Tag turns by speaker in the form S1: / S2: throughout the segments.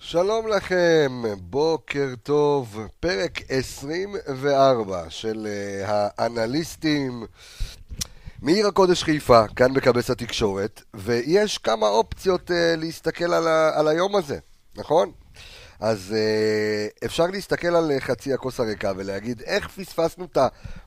S1: שלום לכם, בוקר טוב, פרק 24 של אה, האנליסטים מעיר הקודש חיפה, כאן בכבש התקשורת, ויש כמה אופציות אה, להסתכל על, ה- על היום הזה, נכון? אז אה, אפשר להסתכל על אה, חצי הכוס הריקה ולהגיד איך פספסנו את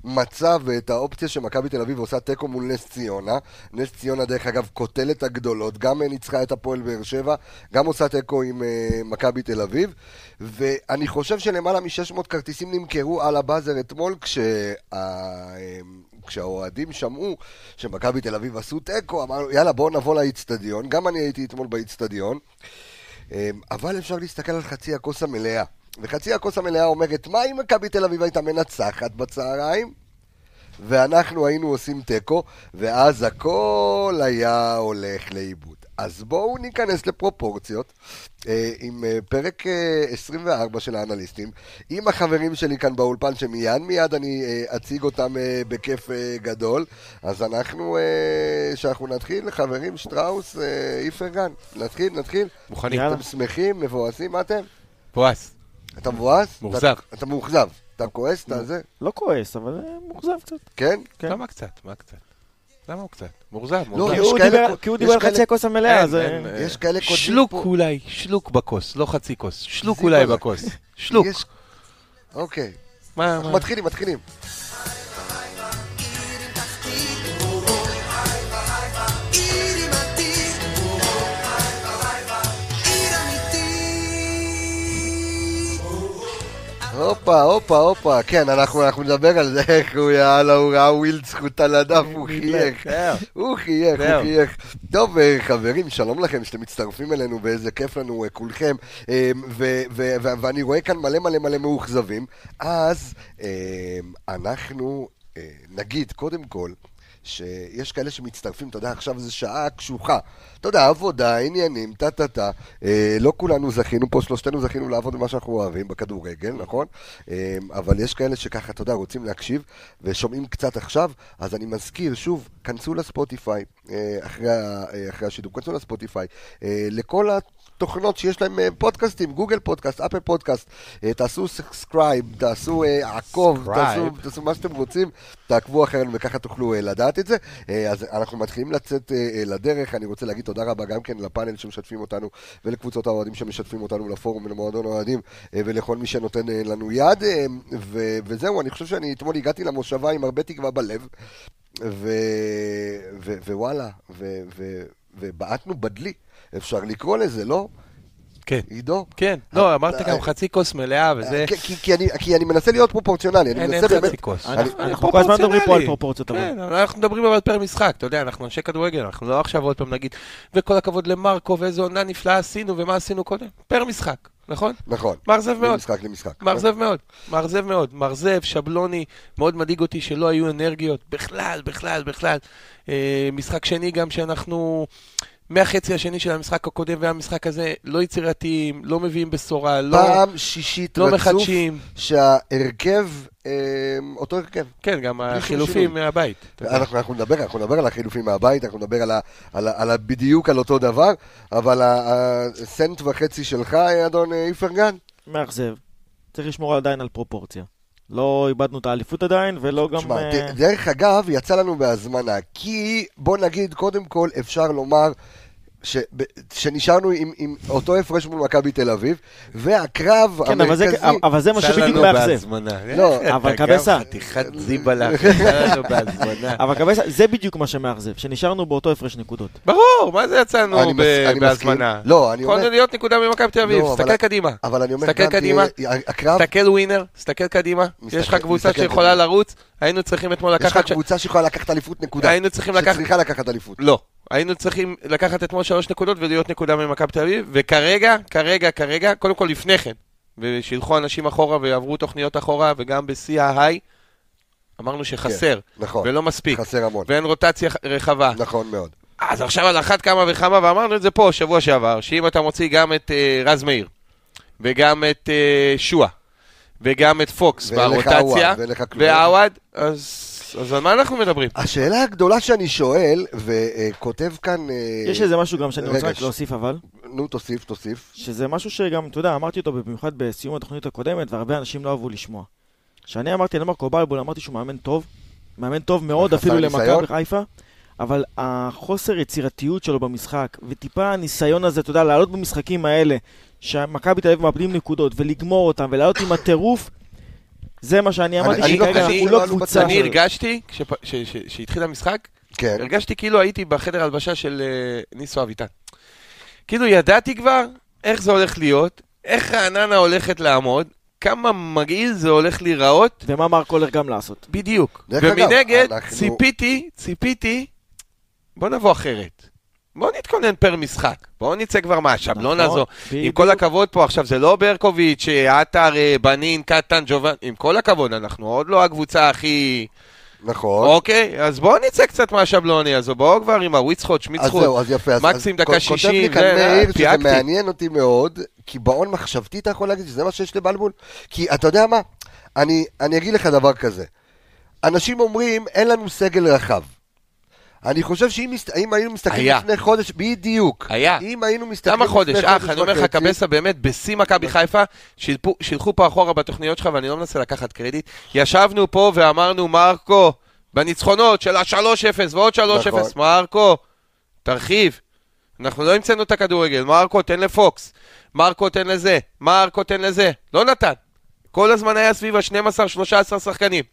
S1: המצב ואת האופציה שמכבי תל אביב עושה תיקו מול נס ציונה. נס ציונה, דרך אגב, קוטלת הגדולות, גם אה, ניצחה את הפועל באר שבע, גם עושה תיקו עם אה, מכבי תל אביב. ואני חושב שלמעלה מ-600 כרטיסים נמכרו על הבאזר אתמול, כשה... אה, כשהאוהדים שמעו שמכבי תל אביב עשו תיקו, אמרנו, יאללה, בואו נבוא לאיצטדיון. גם אני הייתי אתמול באיצטדיון. אמ, אבל אפשר להסתכל על חצי הכוס המלאה. וחצי הכוס המלאה אומרת, מה אם מכבי תל אביב הייתה מנצחת בצהריים? ואנחנו היינו עושים תיקו, ואז הכל היה הולך לאיבוד. אז בואו ניכנס לפרופורציות אה, עם אה, פרק אה, 24 של האנליסטים, עם החברים שלי כאן באולפן, שמיד מיד אני אה, אציג אותם אה, בכיף אה, גדול. אז אנחנו, אה, שאנחנו נתחיל, חברים, שטראוס, אה, איפרגן, נתחיל, נתחיל.
S2: מוכנים.
S3: יאללה.
S1: אתם שמחים, מבואסים, מה אתם?
S2: בועז,
S1: אתה מבואס?
S2: מאוכזב.
S1: אתה- אתה מאוכזב. אתה כועס? אתה זה?
S3: לא כועס, אבל אה, מאוכזב קצת.
S1: כן?
S3: כן.
S2: למה קצת? מה קצת? למה הוא קצת? מאוכזב,
S1: לא,
S3: כי
S1: יש
S2: מאוכזב.
S3: הוא
S1: כאלה-
S3: דיבר- כי הוא
S1: יש
S3: דיבר על
S1: כאלה-
S3: חצי הכוס המלאה,
S2: אין,
S3: אז... אה,
S2: אין, אה,
S1: יש כאלה כותבים
S2: שלוק
S1: פה-
S2: אולי, שלוק בכוס, לא חצי כוס. שלוק
S1: זיפר.
S2: אולי בכוס. שלוק.
S1: יש- אוקיי.
S2: מה,
S1: אנחנו
S2: מה?
S1: מתחילים, מתחילים. הופה, הופה, הופה, כן, אנחנו אנחנו נדבר על זה, איך הוא, יאללה, הוא ראה ווילד זכות על הדף, הוא אה. חייך. הוא חייך, הוא
S2: זהו.
S1: חייך. טוב, אה, חברים, שלום לכם שאתם מצטרפים אלינו, ואיזה כיף לנו אה, כולכם. אה, ו- ו- ו- ואני רואה כאן מלא מלא מלא מאוכזבים. אז אה, אנחנו אה, נגיד, קודם כל, שיש כאלה שמצטרפים, אתה יודע, עכשיו זו שעה קשוחה. אתה יודע, עבודה, עניינים, טה-טה-טה. אה, לא כולנו זכינו פה, שלושתנו זכינו לעבוד במה שאנחנו אוהבים, בכדורגל, נכון? אה, אבל יש כאלה שככה, אתה יודע, רוצים להקשיב ושומעים קצת עכשיו, אז אני מזכיר, שוב, כנסו לספוטיפיי, אה, אחרי, ה- אה, אחרי השידור, כנסו לספוטיפיי, אה, לכל התוכנות שיש להם אה, פודקאסטים, גוגל פודקאסט, אפל פודקאסט, אה, תעשו סקסקרייב, תעשו אה, עקוב, תעשו,
S2: Subscribe.
S1: תעשו מה שאתם רוצים, תעקבו אחרינו וככה תוכלו אה, לדעת את זה. אה, אז אנחנו מתחילים לצאת אה, אה, לדרך, אני רוצה להגיד תודה רבה גם כן לפאנל שמשתפים אותנו ולקבוצות האוהדים שמשתפים אותנו, לפורום ולמועדון האוהדים אה, ולכל מי שנותן אה, לנו יד. אה, ו- וזהו, אני חושב שאני אתמול הגעתי למושבה עם הרבה תקווה בלב, ו- ו- ווואלה, ו- ו- ובעטנו בדלי, אפשר לקרוא לזה, לא?
S2: כן.
S1: עידו?
S2: כן. לא,
S1: אה,
S2: אמרת
S1: אה,
S2: גם חצי כוס מלאה וזה...
S1: כי- כי- כי אני- כי אני מנסה להיות פרופורציונלי, כן, אני
S2: אין
S1: מנסה
S2: אין
S1: באמת...
S2: חצי כוס. אה,
S3: אני-
S1: אני-
S3: אנחנו כל הזמן מדברים פה על פרופורציות, אבל-
S2: כן, אבל אנחנו מדברים אבל פר משחק, אתה יודע, אנחנו אנשי כדורגל, אנחנו לא עכשיו עוד פעם נגיד, וכל הכבוד למרקו, ואיזו עונה נפלאה עשינו, ומה עשינו קודם. פר משחק, נכון?
S1: נכון.
S2: מאכזב מאוד.
S1: למשחק למשחק.
S2: מאכזב מאוד, מאכזב מאוד, מאכזב, שבלוני, מאוד מדאיג אותי שלא היו אנרגיות, בכלל, בכלל, בכלל. אה, משחק שני גם שאנחנו, מהחצי השני של המשחק הקודם והמשחק הזה, לא יצירתיים, לא מביאים בשורה, לא,
S1: פעם שישית
S2: לא
S1: רצוף
S2: מחדשים.
S1: שההרכב, אה, אותו הרכב.
S2: כן, גם
S1: שום
S2: החילופים
S1: שינוי.
S2: מהבית. אתה יודע.
S1: אנחנו, אנחנו, נדבר, אנחנו נדבר על החילופים מהבית, אנחנו נדבר על, ה, על, ה, על ה, בדיוק על אותו דבר, אבל ה- הסנט וחצי שלך, אדון אה, איפרגן,
S3: מאכזב. צריך לשמור עדיין על פרופורציה. לא איבדנו את האליפות עדיין, ולא גם...
S1: תשמע,
S3: אה,
S1: ד- דרך אגב, יצא לנו בהזמנה, כי בוא נגיד, קודם כל אפשר לומר... ש... ב- שנשארנו עם, עם אותו הפרש מול מכבי תל אביב, והקרב
S3: כן, אבל זה-
S1: המרכזי...
S3: אבל זה מה שבדיוק מאכזב.
S2: בהזמנה.
S1: לא,
S3: אבל קבסה.
S2: חתיכת זיבלה, יצא לנו בהזמנה.
S3: אבל קבסה, זה בדיוק מה שמאכזב, שנשארנו באותו הפרש נקודות.
S2: ברור, מה זה יצאנו
S1: אני מס-
S2: ב-
S1: אני מסכים.
S2: בהזמנה?
S1: לא, אני אומר-
S2: יכולנו להיות נקודה ממכבי תל אביב,
S1: לא, אבל-
S2: תסתכל קדימה.
S1: אבל אני אומר,
S2: תסתכל
S1: גם תהיה-
S2: קדימה.
S1: הקרב
S2: תסתכל ווינר, תסתכל קדימה,
S1: מסתכל-
S2: יש לך קבוצה
S1: מסתכל
S2: שיכולה
S1: קדימה.
S2: לרוץ, היינו צריכים אתמול
S1: יש
S2: לקחת...
S1: לך
S2: ש-
S1: קבוצה שיכולה לקחת אליפות, נקודה.
S2: היינו צריכים לקחת...
S1: שצריכה לקחת אליפות.
S2: לא. היינו צריכים לקחת אתמול שלוש נקודות ולהיות נקודה ממכבי תל אביב, וכרגע, כרגע, כרגע, קודם כל לפני כן, ושילכו אנשים אחורה ועברו תוכניות אחורה, וגם בשיא ההיי, אמרנו שחסר,
S1: נכון.
S2: ולא מספיק,
S1: חסר המון.
S2: ואין רוטציה ח- רחבה.
S1: נכון מאוד.
S2: אז עכשיו על אחת כמה וכמה, ואמרנו את זה פה שבוע שעבר, שאם אתה מוציא גם את אה, רז מאיר, וגם את אה, שועה, וגם את פוקס
S1: ואין לך
S2: ברוטציה,
S1: עווד, ואין לך כלום.
S2: ועווד, אז בחוץ, אז על מה אנחנו מדברים?
S1: השאלה הגדולה שאני שואל, וכותב כאן... אה,
S3: יש איזה משהו גם שאני
S1: רגע,
S3: רוצה רק
S1: ש-
S3: להוסיף, אבל,
S1: נו, תוסיף, תוסיף.
S3: שזה משהו שגם, אתה יודע, אמרתי אותו במיוחד בסיום התוכנית הקודמת, והרבה אנשים לא אהבו לשמוע. כשאני אמרתי על מרקו בלבול, אמרתי שהוא מאמן טוב, מאמן טוב מאוד
S1: חסר
S3: אפילו
S1: ניסיון?
S3: למכבי חיפה, אבל החוסר יצירתיות שלו במשחק, וטיפה הניסיון הזה, אתה יודע, לעלות במשחקים האלה, שמכבי תל אביב מאבדים נקודות, ולגמור אותם, ולעלות עם הטירוף, זה מה שאני אמרתי,
S1: אני
S2: לא
S3: שכרגע
S2: חושב
S3: אנחנו
S1: שלא
S3: לא
S1: עלו
S3: קבוצה...
S1: בסדר.
S2: אני הרגשתי, כשפ- ש- ש- כשהתחיל המשחק,
S1: כן.
S2: הרגשתי כאילו הייתי בחדר הלבשה של אה, ניסו אביטן. כאילו ידעתי כבר איך זה הולך להיות, איך רעננה הולכת לעמוד, כמה מגעיל זה הולך להיראות,
S3: ומה מר קולר גם לעשות?
S2: בדיוק.
S1: דרך אגב,
S2: ומנגד,
S1: אנחנו-
S2: ציפיתי, ציפיתי, בוא נבוא אחרת. בואו נתכונן פר משחק, בואו נצא כבר מהשבלון
S3: נכון,
S2: הזו. עם
S3: בדיוק.
S2: כל הכבוד פה, עכשיו זה לא ברקוביץ', עטר, אה, בנין, קטן, ג'ובן, עם כל הכבוד, אנחנו עוד לא הקבוצה הכי...
S1: נכון.
S2: אוקיי, אז בואו נצא קצת מהשבלוני הזו, בואו כבר עם הוויצחוט,
S1: אז
S2: שמיצחוט.
S1: זהו, אז יפה. אז-
S2: מקסים
S1: אז
S2: דקה
S1: כ-
S2: 60,
S1: כותב לי
S2: זה,
S1: כאן
S2: אה,
S1: מאיר שזה
S2: פיהקתי.
S1: מעניין אותי מאוד, קיבעון מחשבתי אתה יכול להגיד שזה מה שיש לבלבול? כי אתה יודע מה? אני אני אגיד לך דבר כזה. אנשים אומרים, אין לנו סגל רחב. אני חושב שאם מסת- אם היינו מסתכלים
S2: היה.
S1: לפני חודש, בדיוק.
S2: היה.
S1: אם היינו מסתכלים
S2: כמה
S1: לפני
S2: חודש, אח, אני אומר לך,
S1: וחצי,
S2: קבסה באמת, בשיא מכבי
S1: כן.
S2: חיפה, שילפו- שילכו פה אחורה בתוכניות שלך, ואני לא מנסה לקחת קרדיט. ישבנו פה ואמרנו, מרקו, בניצחונות של ה-3-0 ועוד 3-0,
S1: נכון.
S2: מרקו, תרחיב. אנחנו לא המצאנו את הכדורגל, מרקו, תן לפוקס, מרקו, תן לזה, מרקו, תן לזה. לא נתן. כל הזמן היה סביב ה-12-13 שחקנים.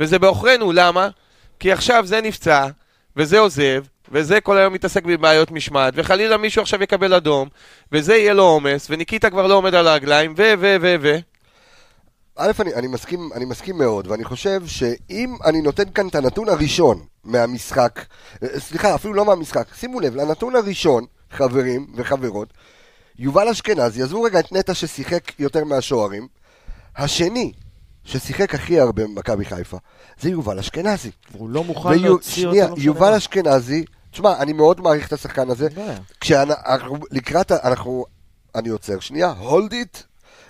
S2: וזה בעוכרינו, למה? כי עכשיו זה נפצע, וזה עוזב, וזה כל היום מתעסק בבעיות משמעת, וחלילה מישהו עכשיו יקבל אדום, וזה יהיה לו עומס, וניקיטה כבר לא עומד על הרגליים, ו... ו... ו... ו...
S1: א', אני, אני, מסכים, אני מסכים מאוד, ואני חושב שאם אני נותן כאן את הנתון הראשון מהמשחק, אה, סליחה, אפילו לא מהמשחק, שימו לב, לנתון הראשון, חברים וחברות, יובל אשכנזי, עזבו רגע את נטע ששיחק יותר מהשוערים, השני ששיחק הכי הרבה במכבי חיפה, זה יובל אשכנזי.
S3: הוא לא מוכן
S1: ויו-
S3: להוציא אותו,
S1: שנייה,
S3: לא משנה
S1: יובל
S3: מה.
S1: אשכנזי, תשמע, אני מאוד מעריך את השחקן הזה,
S3: אין בעיה.
S1: כשאנחנו לקראת, ה- אנחנו, אני עוצר שנייה, hold it,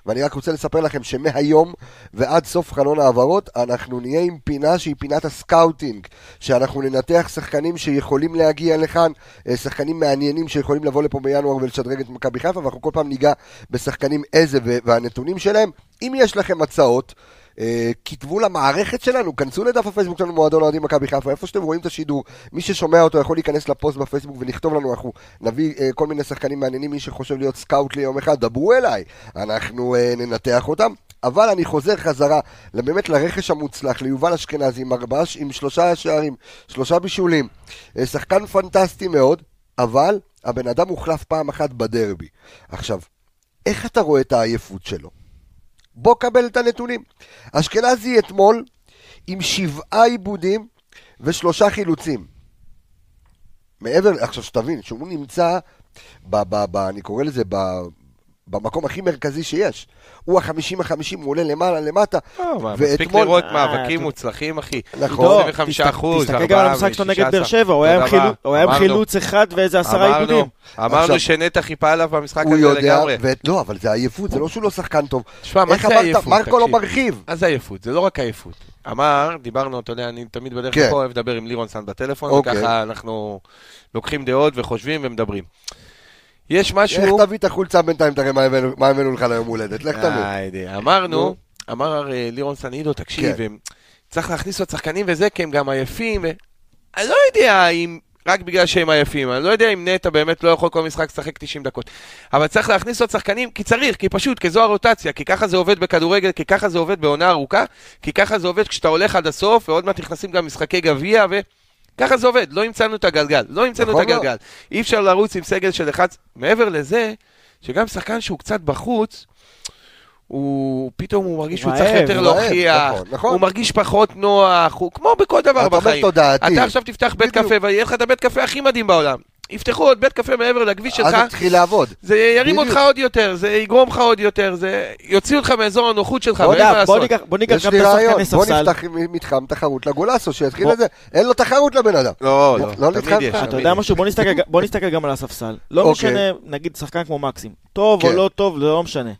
S1: ואני רק רוצה לספר לכם שמהיום ועד סוף חלון העברות, אנחנו נהיה עם פינה שהיא פינת הסקאוטינג, שאנחנו ננתח שחקנים שיכולים להגיע לכאן, אה, שחקנים מעניינים שיכולים לבוא לפה בינואר ולשדרג את מכבי חיפה, ואנחנו כל פעם ניגע בשחקנים איזה ו- והנתונים שלהם. אם יש לכם הצעות, אה, כתבו למערכת שלנו, כנסו לדף הפייסבוק שלנו, מועדון אוהדים מכבי חיפה, איפה שאתם רואים את השידור, מי ששומע אותו יכול להיכנס לפוסט בפייסבוק ולכתוב לנו, אנחנו נביא אה, כל מיני שחקנים מעניינים, מי שחושב להיות סקאוט ליום אחד, דברו אליי, אנחנו אה, ננתח אותם. אבל אני חוזר חזרה באמת לרכש המוצלח, ליובל אשכנזי עם, ארבעה, עם שלושה שערים, שלושה בישולים, אה, שחקן פנטסטי מאוד, אבל הבן אדם הוחלף פעם אחת בדרבי. עכשיו, איך אתה רואה את העייפות שלו? בוא קבל את הנתונים. אשכנזי אתמול עם שבעה עיבודים ושלושה חילוצים. מעבר, עכשיו שתבין, שהוא נמצא, ב, ב, ב, אני קורא לזה, ב, במקום הכי מרכזי שיש. הוא החמישים החמישים, הוא עולה למעלה למטה.
S2: מספיק
S1: ואתמול-
S2: לראות
S3: אה,
S2: מאבקים
S3: אתה-
S2: מוצלחים, אחי.
S1: נכון.
S2: 25
S3: תסת-
S2: אחוז,
S3: תסתכל גם על המשחק שלו נגד באר שבע, הוא היה עם חילוץ- הוא היה עם חילוץ אחד ואיזה עשרה עיבודים.
S1: עכשיו-
S2: אמרנו שנטע חיפה עליו במשחק
S1: הוא
S2: הזה
S1: יודע,
S2: לגמרי.
S1: ו... לא, אבל זה עייפות, זה לא שהוא לא שחקן טוב.
S2: תשמע, מה
S1: איך
S2: זה עייפות?
S1: אמרת, מרקו לא
S2: תקשיב.
S1: מרחיב.
S2: אז זה עייפות, זה לא רק עייפות. אמר, דיברנו, אתה יודע, אני תמיד בדרך
S1: כן.
S2: לפה אוהב לדבר עם לירון סאן בטלפון,
S1: אוקיי.
S2: וככה אנחנו לוקחים דעות וחושבים ומדברים. יש משהו...
S1: איך תביא את החולצה בינתיים, תראה מה הבאנו- מה הבאנו לך ליום הולדת, לך תביא.
S2: די, די. אה, אמרנו,
S1: נו.
S2: אמר אה, לירון סנידו, תקשיב,
S1: כן.
S2: הם- צריך להכניס עוד שחקנים וזה, כי הם גם עייפים. ו- אני לא יודע אם, רק בגלל שהם עייפים, אני לא יודע אם נטע באמת לא יכול כל משחק לשחק 90 דקות. אבל צריך להכניס עוד שחקנים, כי צריך, כי פשוט, כי זו הרוטציה, כי ככה זה עובד בכדורגל, כי ככה זה עובד בעונה ארוכה, כי ככה זה עובד כשאתה הולך עד הסוף, ועוד מעט נכנסים גם משחקי גביע, ו... ככה זה עובד, לא המצאנו את הגלגל, לא המצאנו
S1: נכון
S2: את הגלגל. אי אפשר לרוץ עם סגל של אחד. מעבר לזה, שגם שחקן שהוא קצת בחוץ, הוא פתאום הוא מרגיש שהוא
S3: הוא
S2: צריך
S3: רעב,
S2: יותר
S1: הוא
S2: להוכיח,
S1: רעב, נכון, נכון.
S2: הוא מרגיש פחות נוח, הוא כמו בכל דבר
S1: אתה אומר
S2: בחיים.
S1: תודעתי.
S2: אתה עכשיו תפתח בית
S1: בדיוק.
S2: קפה ויהיה לך את הבית קפה הכי מדהים בעולם. יפתחו עוד בית קפה מעבר לכביש
S1: אז
S2: שלך,
S1: הוא התחיל לעבוד.
S2: זה ירים
S1: בדיוק.
S2: אותך עוד יותר, זה יגרום לך עוד יותר, זה יוציא אותך מאזור הנוחות שלך,
S3: בוא
S2: ואין
S3: ניקח-
S2: מה
S3: בוא
S2: לעשות.
S3: ניקח- בוא ניקח
S1: יש
S3: גם
S1: לי
S3: את השחקני
S1: רעיון, בוא
S3: ספסל.
S1: נפתח מ- מתחם תחרות לגולסו, שיתחיל
S3: בוא-
S1: את זה. אין לו תחרות לבן אדם.
S2: לא,
S1: לא, לא נתחלת?
S2: תמיד יש.
S3: אתה
S2: תמיד
S3: יודע
S2: יש.
S3: משהו? בוא נסתכל, בוא נסתכל גם על הספסל. לא
S1: אוקיי.
S3: משנה, נגיד שחקן כמו מקסים. טוב או
S1: כן.
S3: לא טוב, זה לא משנה.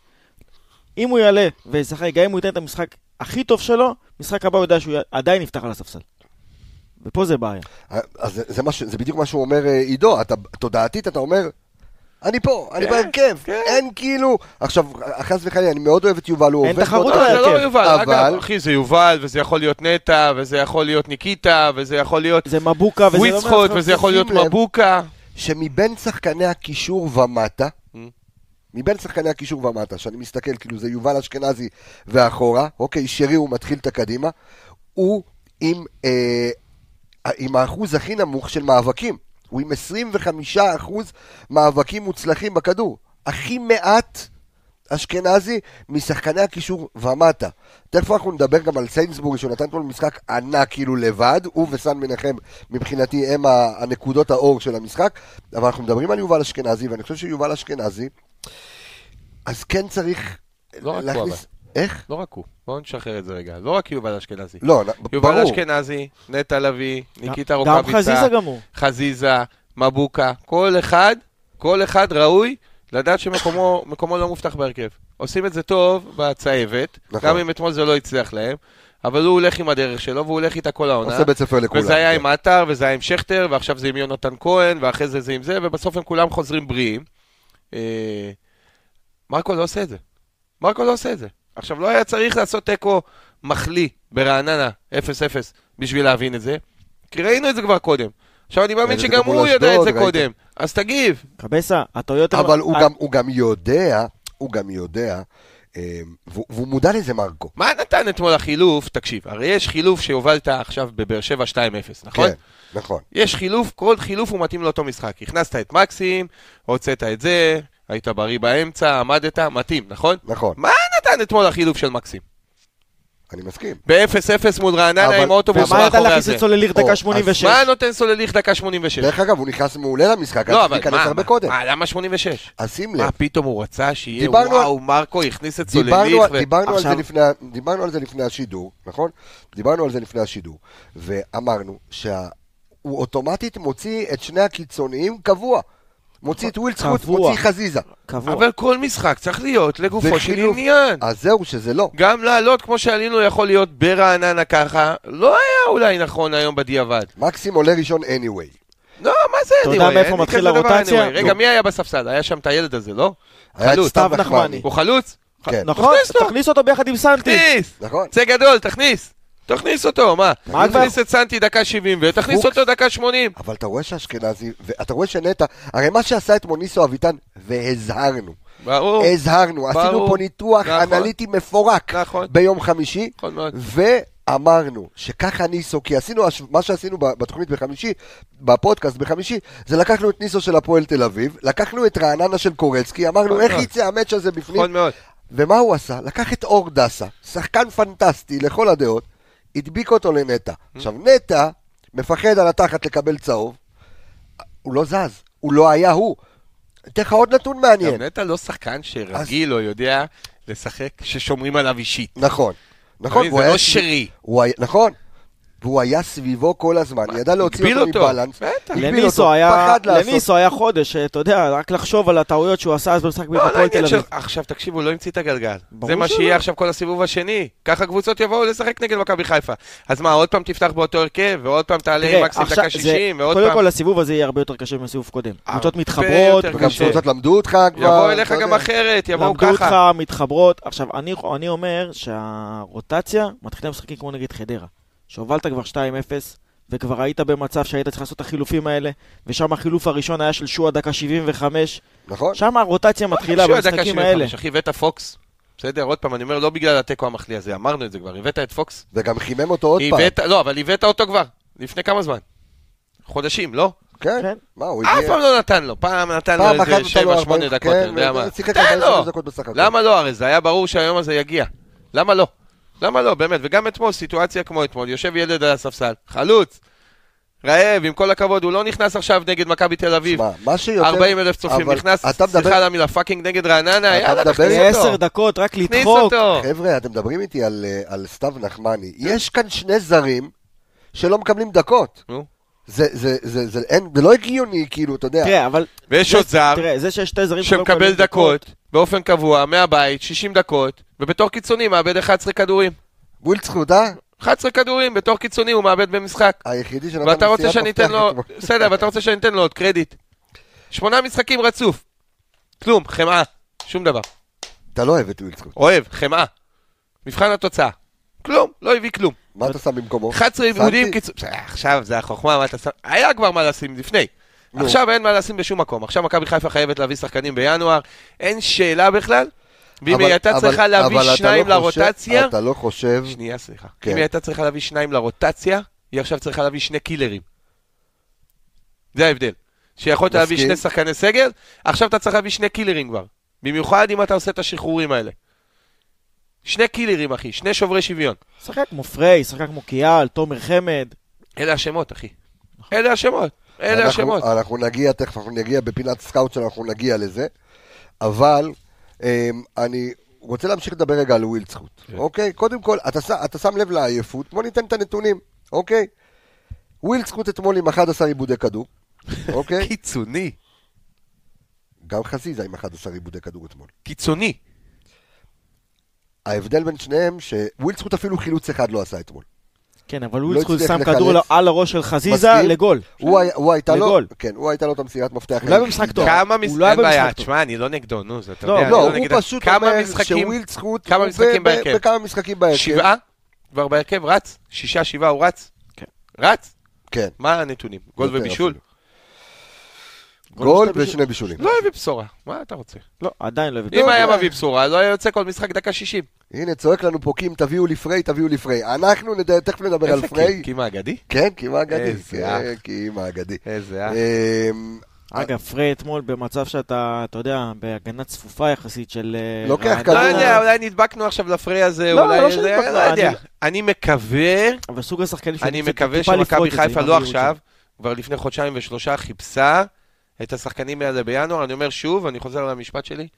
S3: אם הוא יעלה וישחק, גם אם הוא ייתן את המשחק הכי טוב שלו, משחק הבא הוא יודע שהוא עדיין יפתח על הספסל. ופה זה בעיה.
S1: אז זה, זה, מה, ש- זה בדיוק מה שהוא אומר אה, עידו, אתה, תודעתית אתה אומר, אני פה, אני
S2: כן,
S1: בהרכב,
S2: כן.
S1: אין כאילו, עכשיו, חס וחלילה, אני מאוד אוהב את יובל, הוא
S3: אין
S1: עובד
S3: תחרות
S1: מאוד
S3: על
S1: קשה.
S2: זה לא
S3: ההרכב.
S2: יובל, אגב,
S1: כן. אבל-
S2: אחי, זה יובל, וזה יכול להיות נטע, וזה יכול להיות ניקיטה, וזה יכול להיות
S3: זה מבוקה וזה לא...
S2: וויצחוט, וזה יכול להיות
S1: שים לב.
S2: מבוקה.
S1: שמבין שחקני הקישור ומטה,
S2: Mm.
S1: מבין שחקני הקישור ומטה, שאני מסתכל, כאילו זה יובל אשכנזי ואחורה, אוקיי, שרי הוא מתחיל את הקדימה, הוא עם, אה, עם האחוז הכי נמוך של מאבקים. הוא עם 25% מאבקים מוצלחים בכדור. הכי מעט אשכנזי משחקני הקישור ומטה. תכף אנחנו נדבר גם על סיינסבורג, שהוא נתן כל משחק ענק כאילו לבד, הוא וסן מנחם מבחינתי הם ה- הנקודות האור של המשחק, אבל אנחנו מדברים על יובל אשכנזי, ואני חושב שיובל אשכנזי, אז כן צריך
S2: לא רק הוא,
S1: להכניס... איך?
S2: לא רק הוא, בואו נשחרר את זה רגע. לא רק יובל אשכנזי.
S1: לא,
S2: יובל
S1: ברור.
S2: אשכנזי, נטע לביא, ניקיטה
S3: גם
S2: רוקאביצה,
S3: חזיזה גמור.
S2: חזיזה, מבוקה, כל אחד, כל אחד ראוי לדעת שמקומו מקומו לא מובטח בהרכב. עושים את זה טוב בצהבת,
S1: נכון.
S2: גם אם אתמול זה לא הצליח להם, אבל הוא הולך עם הדרך שלו והוא הולך איתה כל העונה.
S1: עושה בית ספר לכולם. כן.
S2: וזה היה עם עטר, וזה היה עם שכטר, ועכשיו זה עם יונתן כהן, ואחרי זה זה עם זה, ובסוף הם כולם חוזרים בריאים. אה, מרקו לא עושה את זה. מרקו לא עושה את זה. עכשיו, לא היה צריך לעשות תיקו מחליא ברעננה, 0-0, בשביל להבין את זה, כי ראינו את זה כבר קודם. עכשיו, אני מאמין
S1: ראיתי את זה
S2: שגם
S1: מול
S2: הוא יודע את
S1: אשדוד,
S2: זה
S1: ראיתי.
S2: קודם. אז תגיב.
S3: קבסה, הטעויות... הן-
S1: אבל הוא
S3: ה-
S1: גם- הוא גם יודע, הוא גם יודע, אה, והוא והוא מודע לזה מרקו.
S2: מה נתן אתמול החילוף? תקשיב, הרי יש חילוף שהובלת עכשיו בבאר שבע 2-0, נכון?
S1: כן, נכון.
S2: יש חילוף, כל חילוף הוא מתאים לאותו משחק. הכנסת את מקסים, הוצאת את זה, היית בריא באמצע, עמדת, מתאים, נכון?
S1: נכון,
S2: מה נתן אתמול החילוף של מקסים?
S1: אני מסכים.
S2: ב-0-0 מול רעננה
S1: אבל-
S2: עם האוטובוס
S3: ומה ידע
S2: מאחורי
S3: להכניס
S2: הזה.
S3: את סולליך
S1: או,
S3: דקה
S1: אוקיי. אז
S3: 86?
S2: מה נותן סולליך דקה 86?
S1: דרך אגב, הוא נכנס מעולה למשחק,
S2: כן. לא,
S1: היה צריך
S2: אבל
S1: להיכנס
S2: מה,
S1: הרבה קודם.
S2: מה, למה 86?
S1: אז שים לב,
S2: מה פתאום הוא רצה שיהיה,
S1: דיברנו על-
S2: וואו, מרקו הכניס את סולליך.
S1: דיברנו,
S2: ו-
S1: דיברנו, על זה
S3: עכשיו-
S1: לפני, דיברנו על זה לפני השידור, נכון? דיברנו על זה לפני השידור, ואמרנו שהוא אוטומטית מוציא את שני הקיצוניים קבוע. מוציא את ווילדסקוט,
S3: קבוע.
S1: מוציא חזיזה.
S3: קבוע.
S2: אבל כל משחק צריך להיות לגופו של
S1: וחילוף.
S2: עניין.
S1: אז זהו, שזה לא.
S2: גם לעלות כמו שעלינו יכול להיות ברעננה ככה, לא היה אולי נכון היום בדיעבד.
S1: מקסים עולה ראשון anyway.
S2: לא, מה זה
S3: אתה
S2: anyway?
S3: יודע מאיפה
S2: אין לי
S3: מתחיל
S2: כזה דבר
S3: הרוטציה?
S2: anyway. רגע,
S3: לא.
S2: מי היה בספסל? היה שם את הילד הזה, לא?
S1: היה את
S2: חלוץ.
S1: סתיו
S3: סתיו נחמני.
S1: נחמני.
S2: הוא חלוץ?
S1: כן,
S3: נכון,
S2: תכניס לו.
S3: תכניס אותו ביחד עם סנטי.
S2: תכניס!
S1: נכון.
S2: זה גדול, תכניס! תכניס אותו, מה?
S3: מה כבר?
S2: תכניס את סנטי דקה 70 ותכניס
S1: פוקס.
S2: אותו דקה 80.
S1: אבל אתה רואה שאשכנזי, ואתה רואה שנטע, הרי מה שעשה את מוניסו אביטן, והזהרנו.
S2: ברור.
S1: הזהרנו, עשינו
S2: ברור.
S1: פה ניתוח
S2: נכון.
S1: אנליטי מפורק
S2: נכון.
S1: ביום חמישי,
S2: נכון מאוד.
S1: ואמרנו שככה ניסו, כי עשינו, הש- מה שעשינו ב- בתוכנית בחמישי, בפודקאסט בחמישי, זה לקחנו את ניסו של הפועל תל אביב, לקחנו את רעננה של קורצקי, אמרנו
S2: נכון
S1: איך
S2: מאוד.
S1: יצא המאץ' הזה בפנים,
S2: נכון מאוד.
S1: ומה הוא עשה? לקח את אור דסה, שחקן פנטסטי לכל הדעות, הדביק אותו לנטע.
S2: Mm-hmm.
S1: עכשיו, נטע מפחד על התחת לקבל צהוב, הוא לא זז, הוא לא היה הוא. אתן לך עוד נתון מעניין.
S2: גם נטע לא שחקן שרגיל או יודע לשחק ששומרים עליו אישית.
S1: נכון. נכון,
S2: זה
S1: והוא היה
S2: לא
S1: סביב-
S2: שרי.
S1: הוא היה- נכון. והוא היה סביבו כל הזמן, ידע להוציא
S2: הגביל
S1: אותו
S2: אותו.
S1: מבלנס.
S2: בטח.
S1: הגביל
S3: לניסו
S1: אותו,
S3: היה,
S1: פחד לעשות.
S3: לניסו היה חודש, אה, אתה יודע, רק לחשוב על הטעויות שהוא עשה אז במשחק
S2: לא, לא
S3: בהפועל
S2: עניין
S3: תל
S2: של...
S3: אביב.
S2: עכשיו, תקשיבו, לא המציא את הגלגל.
S3: ברור
S2: זה מה
S3: שלא.
S2: שיהיה עכשיו כל הסיבוב השני. ככה קבוצות יבואו לשחק נגד מכבי חיפה. אז מה, עוד פעם תפתח באותו הרכב, ועוד פעם תעלה עם
S3: תראה,
S2: מקסים
S3: עכשיו
S2: דקה
S3: זה-
S2: 60, ועוד
S3: קודם
S2: פעם...
S3: כל הסיבוב הזה יהיה הרבה יותר קשה מהסיבוב הקודם. קבוצות
S2: הרבה
S3: מתחברות,
S2: יותר
S1: וגם
S2: קשה.
S1: קבוצות למדו אותך כבר.
S2: יבואו אליך
S1: אתה יודע.
S2: גם אחרת, יבואו
S3: למדו אותך,
S2: ככה.
S3: מתחברות. עכשיו, אני, אני אומר שהרוטציה מתחילה משחקים כמו נגד חדרה. שהובלת כבר 2-0, וכבר היית במצב שהיית צריך לעשות את החילופים האלה, ושם החילוף הראשון היה של שועה דקה 75.
S1: נכון.
S3: שם הרוטציה מתחילה
S2: שוער לא. דקה
S3: במשחקים
S2: 75,
S3: האלה.
S2: אחי, הבאת פוקס. בסדר, עוד פעם, אני אומר, לא בגלל התיקו המחליא הזה, אמרנו את זה כבר. הבאת את פוקס.
S1: וגם חימם אותו עוד פעם.
S2: הבאת- לא, אבל הבאת אותו כבר. לפני כמה זמן? חודשים, לא?
S1: כן?
S3: כן.
S1: מה, הוא
S2: אף
S1: הגיע...
S2: פעם לא נתן לו. פעם נתן לו
S1: פעם אחת
S2: איזה
S1: נתן לו
S2: 7-8
S1: 40,
S2: דקות,
S1: כן,
S2: אני יודע מה.
S1: ושיחק
S2: תן
S1: 45
S2: לו!
S1: דקות בסך הכל.
S2: למה לא הרי? זה היה ברור שהיום הזה יגיע. למה לא? למה לא? באמת. וגם אתמול, סיטואציה כמו אתמול, יושב ילד על הספסל, חלוץ, רעב, עם כל הכבוד, הוא לא נכנס עכשיו נגד מכבי תל אביב.
S1: שמע, מה שיותר...
S2: 40 אלף צופים
S1: אבל
S2: נכנס,
S1: אתה מדבר-
S2: סליחה על המילה, פאקינג נגד רעננה,
S1: אתה
S2: יאללה,
S1: מדבר- כן,
S2: תכניס
S3: זה עשר
S2: אותו.
S3: דקות, רק
S2: תכניס
S3: לדחוק.
S2: אותו.
S1: חבר'ה, אתם מדברים איתי על, אה, על סתיו נחמני. יש כאן שני זרים שלא מקבלים דקות.
S2: נו.
S1: זה, זה, זה, זה, אין, זה לא הגיוני, כאילו, אתה יודע.
S2: כן.
S3: תראה, אבל...
S2: ויש
S3: זה-
S2: עוד זר,
S3: תראה, זה שיש שתי זרים שלא
S2: שמקבל
S3: מקבלים
S2: דקות, באופן קבוע, מהבית, 60 דקות, ובתור קיצוני מאבד 11 כדורים.
S1: ווילד זכות, אה?
S2: 11 כדורים בתור קיצוני הוא מאבד במשחק.
S1: היחידי שנתן
S2: ואתה רוצה
S1: מסירת
S2: שאני אתן
S1: מפתח
S2: לו,
S1: אתמול.
S2: בסדר, ואתה רוצה שאני אתן לו עוד קרדיט. שמונה משחקים רצוף. כלום, חמאה, שום דבר.
S1: אתה לא אוהב את ווילסקוט.
S2: אוהב, חמאה. מבחן התוצאה. כלום, לא הביא כלום.
S1: מה אתה שם במקומו?
S2: 11
S1: שמתי.
S2: עיבודים קיצור... אה, עכשיו זה החוכמה, מה אתה שם? היה כבר מה לשים לפני.
S1: נו.
S2: עכשיו אין מה לשים בשום מקום. עכשיו מכבי חיפה חייבת להביא שחקנים בינואר, אין שאלה בכלל. ואם
S1: אבל-
S2: היא הייתה
S1: אבל-
S2: צריכה
S1: אבל אתה
S2: להביא
S1: לא
S2: שניים
S1: חושב-
S2: לרוטציה...
S1: אתה לא חושב...
S2: שנייה, סליחה.
S1: כן.
S2: אם היא הייתה צריכה להביא שניים לרוטציה, היא עכשיו צריכה להביא שני קילרים. זה ההבדל. שיכולת להביא
S1: מסכים.
S2: שני שחקני סגל, עכשיו אתה צריך להביא שני קילרים כבר. במיוחד אם אתה עושה את השחרורים האלה. שני קילרים, אחי, שני שוברי שוויון.
S3: שחקן כמו פריי, שחקן כמו קיאל, תומר חמד.
S2: אלה השמות, אחי. אלה השמות. אלה
S1: נכון. אנחנו- אה,
S2: השמות.
S1: אנחנו נגיע, תכף אנחנו נגיע בפינת סקאוט שלנו, אנחנו נגיע לזה. אבל אמ, אני רוצה להמשיך לדבר רגע על ווילדסקוט,
S2: כן.
S1: אוקיי? קודם כל, אתה ש- אתה שם לב לעייפות, בוא ניתן את הנתונים, אוקיי? ווילדסקוט אתמול עם 11 עיבודי כדור, אוקיי?
S2: קיצוני.
S1: גם חזיזה עם 11 עיבודי כדור אתמול.
S2: קיצוני.
S1: ההבדל בין שניהם, שווילדסקוט אפילו חילוץ אחד לא עשה אתמול.
S3: כן, אבל
S2: לא
S3: ווילסקוט
S1: הצליח
S3: שם
S1: לחלץ.
S3: כדור על הראש של חזיזה
S1: מסכים?
S3: לגול.
S1: הוא היה- הוא הייתה לו,
S3: לגול.
S1: כן, הוא הייתה לו את המסירת מפתח.
S3: אולי במשחק טוב.
S2: כמה
S3: הוא
S2: מס...
S3: לא היה
S2: אין בעיה,
S3: במשחק טוב.
S2: תשמע, אני לא נגדו, נו, זה אתה
S3: לא,
S2: יודע,
S1: לא,
S2: אני לא נגד...
S1: הוא פשוט
S2: כמה
S1: אומר
S2: משחקים,
S1: שווילדסקוט,
S2: כמה
S1: הוא ב-
S2: משחקים
S1: ב-
S2: בהרכב?
S1: בכמה משחקים בהרכב.
S2: שבעה? כבר בהרכב רץ? שישה, שבעה הוא רץ?
S3: כן.
S2: רץ?
S1: כן.
S2: מה הנתונים? גול
S1: יותר
S2: ובישול?
S1: אפילו. גול
S3: ושתי
S1: ושני בישולים.
S2: לא הביא בשורה, מה אתה רוצה?
S3: לא, עדיין לא הביא.
S2: אם היה
S1: יודע.
S2: מביא בשורה, לא היה יוצא כל משחק דקה שישים.
S1: הנה, צועק לנו פה קים, תביאו לי פריי, תביאו לי פריי. אנחנו נדע, תכף נדבר על
S2: איזה
S1: פריי.
S2: קים? קים האגדי?
S1: כן, קים האגדי.
S2: איזה אה.
S1: כן, קים האגדי.
S2: איזה לא אח.
S1: אמ,
S3: אגב, פריי אתמול במצב שאתה, אתה יודע, בהגנה צפופה יחסית של... אה,
S1: לוקח
S3: רעננה.
S2: לא
S1: כדור.
S2: יודע, אולי נדבקנו עכשיו לפריי הזה,
S3: לא,
S2: אולי...
S3: לא
S2: זה-
S3: שנדבקנו,
S2: לא יודע.
S3: אני-
S2: אני מקווה
S3: אבל סוג השחקנים
S2: אני
S3: קצת
S2: מקווה
S3: טיפה לפרוט
S2: שמכבי
S3: את זה,
S2: חיפה
S3: עם
S2: לא
S3: המהירות שלהם.
S2: עכשיו, כבר לפני חודשיים ושלושה חיפשה את השחקנים האלה בינואר. אני אומר שוב, אני חוזר למשפט שלי.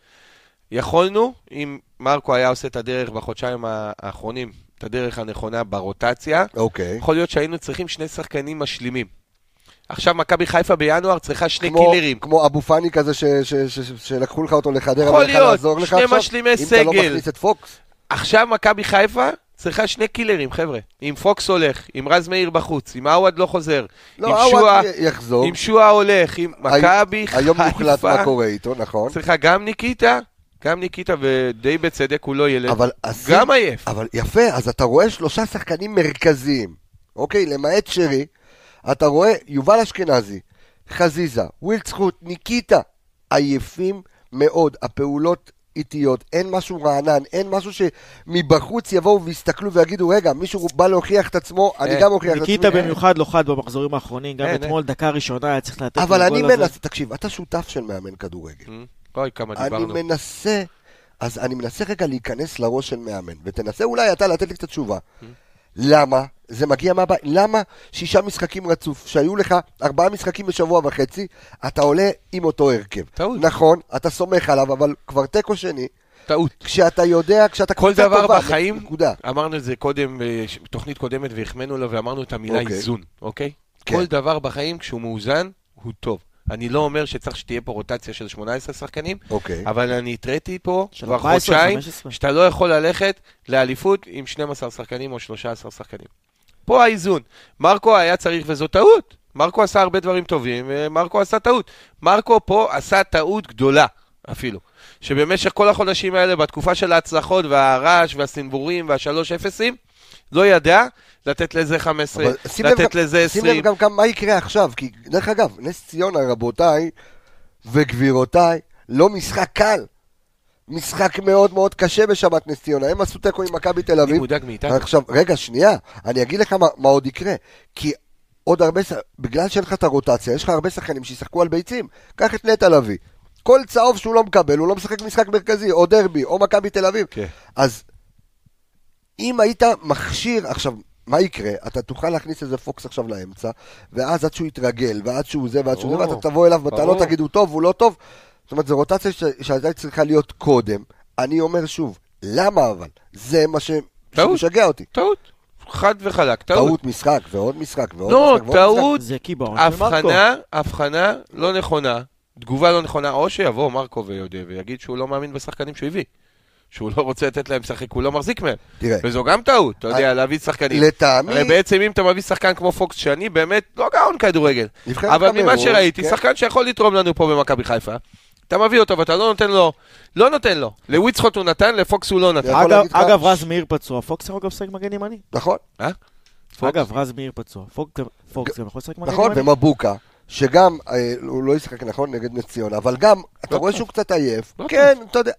S2: יכולנו, אם מרקו היה עושה את הדרך בחודשיים האחרונים, את הדרך הנכונה ברוטציה,
S1: אוקיי.
S2: יכול להיות שהיינו צריכים שני שחקנים משלימים. עכשיו מכבי חיפה בינואר צריכה שני
S1: כמו-
S2: קילרים.
S1: כמו אבו פאני כזה ש- ש- ש- ש- שלקחו לך אותו לחדרה,
S2: יכול
S1: אבל לך
S2: להיות,
S1: לעזור לך
S2: שני
S1: עכשיו?
S2: משלימי
S1: אם אתה לא
S2: סגל.
S1: מכניס את פוקס,
S2: עכשיו מכבי חיפה צריכה שני קילרים, חבר'ה. אם פוקס הולך, אם רז מאיר בחוץ, אם עווד לא חוזר,
S1: לא,
S2: אם
S1: עווד
S2: שועה,
S1: יחזור.
S2: אם שועה הולך, אם מכבי חיפה...
S1: היום מוחלט מה קורה איתו, נכון.
S2: סליחה, גם ניקיטה, גם ניקיטה, ודי בצדק הוא לא ילד.
S1: אבל עשית-
S2: גם עייף.
S1: אבל יפה, אז אתה רואה שלושה שחקנים מרכזיים, אוקיי? למעט שרי, אתה רואה יובל אשכנזי, חזיזה, ווילדסקוט, ניקיטה, עייפים מאוד, הפעולות איטיות, אין משהו רענן, אין משהו שמבחוץ יבואו ויסתכלו ויגידו, רגע, מישהו בא להוכיח את עצמו, אני
S2: אה,
S1: גם אוכיח את עצמי.
S3: כן, ניקיטה במיוחד לא חד במחזורים האחרונים, גם
S2: אין,
S3: אתמול דקה ראשונה היה צריך לתת לו
S1: אבל אני
S3: גול הזה.
S1: מנסה, תקשיב, אתה שותף של מאמן כדורגל.
S2: אה, אוי, כמה
S1: אני
S2: דיברנו.
S1: מנסה, אז אני מנסה רגע להיכנס לראש של מאמן, ותנסה אולי אתה לתת לי קצת תשובה.
S2: Mm-hmm.
S1: למה? זה מגיע מהבית. למה שישה משחקים רצוף, שהיו לך ארבעה משחקים בשבוע וחצי, אתה עולה עם אותו הרכב.
S2: טעות.
S1: נכון, אתה סומך עליו, אבל כבר תיקו שני,
S2: טעות.
S1: כשאתה יודע, כשאתה
S2: כל
S1: קבוצה
S2: דבר
S1: טובה,
S2: בחיים,
S1: נקודה.
S2: אמרנו את זה קודם, בתוכנית קודמת, והחמאנו לו ואמרנו את המילה
S1: אוקיי.
S2: איזון, אוקיי?
S1: כן.
S2: כל דבר בחיים, כשהוא מאוזן, הוא טוב. אני לא אומר שצריך שתהיה פה רוטציה של 18 שחקנים,
S1: אוקיי.
S2: אבל אני התריתי פה
S3: של
S2: כבר
S3: 14,
S2: חודשיים,
S3: 15.
S2: שאתה לא יכול ללכת לאליפות עם 12 שחקנים או 13 שחקנים. פה האיזון. מרקו היה צריך, וזו טעות. מרקו עשה הרבה דברים טובים, ומרקו עשה טעות. מרקו פה עשה טעות גדולה, אפילו. שבמשך כל החודשים האלה, בתקופה של ההצלחות והרעש והסנבורים והשלוש אפסים, לא ידע לתת לזה 15,
S1: אבל שים לב
S2: לתת
S1: גם-
S2: לזה
S1: שים לב
S2: 20.
S1: גם כמה- מה יקרה עכשיו, כי דרך אגב, נס ציונה רבותיי וגבירותיי, לא משחק קל. משחק מאוד מאוד קשה בשבת נס ציונה, הם עשו תיקו עם מכבי תל
S2: אני
S1: אביב.
S2: מודאג מאיתנו.
S1: עכשיו, רגע, שנייה, אני אגיד לך מה, מה עוד יקרה. כי עוד הרבה, ש- בגלל שאין לך את הרוטציה, יש לך הרבה שחקנים שישחקו על ביצים. קח את נטע לביא. כל צהוב שהוא לא מקבל, הוא לא משחק משחק מרכזי, או דרבי, או מכבי תל אביב.
S2: כן.
S1: אז אם היית מכשיר, עכשיו, מה יקרה? אתה תוכל להכניס איזה פוקס עכשיו לאמצע, ואז עד שהוא יתרגל, ועד שהוא זה, ועד שהוא זה,
S2: ברור,
S1: ואתה תבוא אליו בטענות,
S2: ברור.
S1: תגיד, הוא טוב, הוא לא טוב. זאת אומרת, זו רוטציה ש- שהייתה צריכה להיות קודם. אני אומר שוב, למה אבל? זה מה ש...
S2: טעות.
S1: שמשגע אותי.
S2: טעות. חד וחלק, טעות.
S1: טעות משחק, ועוד משחק, ועוד
S2: לא,
S1: משחק, ועוד משחק.
S2: טעות.
S3: זה קיבעון של מרקו.
S2: הבחנה, הבחנה לא נכונה, תגובה לא נכונה, או שיבוא מרקו ויודה ויגיד שהוא לא מאמין בשחקנים שהוא הביא. שהוא לא רוצה לתת להם לשחק, הוא לא מחזיק מהם.
S1: תראה,
S2: וזו גם טעות, אתה יודע,
S1: אה,
S2: להביא שחקנים.
S1: כן. לטעמי,
S2: הרי בעצם אם אתה מביא שחקן כמו פוקס, שאני באמת לא גאון כדורגל,
S1: נבחרת
S2: אבל ממה
S1: קמרון,
S2: שראיתי,
S1: כן.
S2: שחקן שיכול לתרום לנו פה במכבי חיפה, אתה מביא אותו ואתה לא נותן לו, לא נותן לו. לוויצחוט הוא נתן, לפוקס הוא לא נתן.
S1: יכול
S3: אגב,
S1: להגיד לך-
S3: אגב, רז מאיר פצוע, פוקס יכול גם לשחק מגן ימני.
S1: נכון,
S2: פוקס.
S3: אגב, רז מאיר פצוע, פוק- פוקס גם יכול לשחק מגן
S1: נכון,
S3: ימני.
S1: ומבוקה, שגם, אה, הוא לא ישחק נכון נגד נס ציונה, אבל גם, אתה רואה שהוא קצת עייף,
S2: לא
S1: כן, אתה יודע,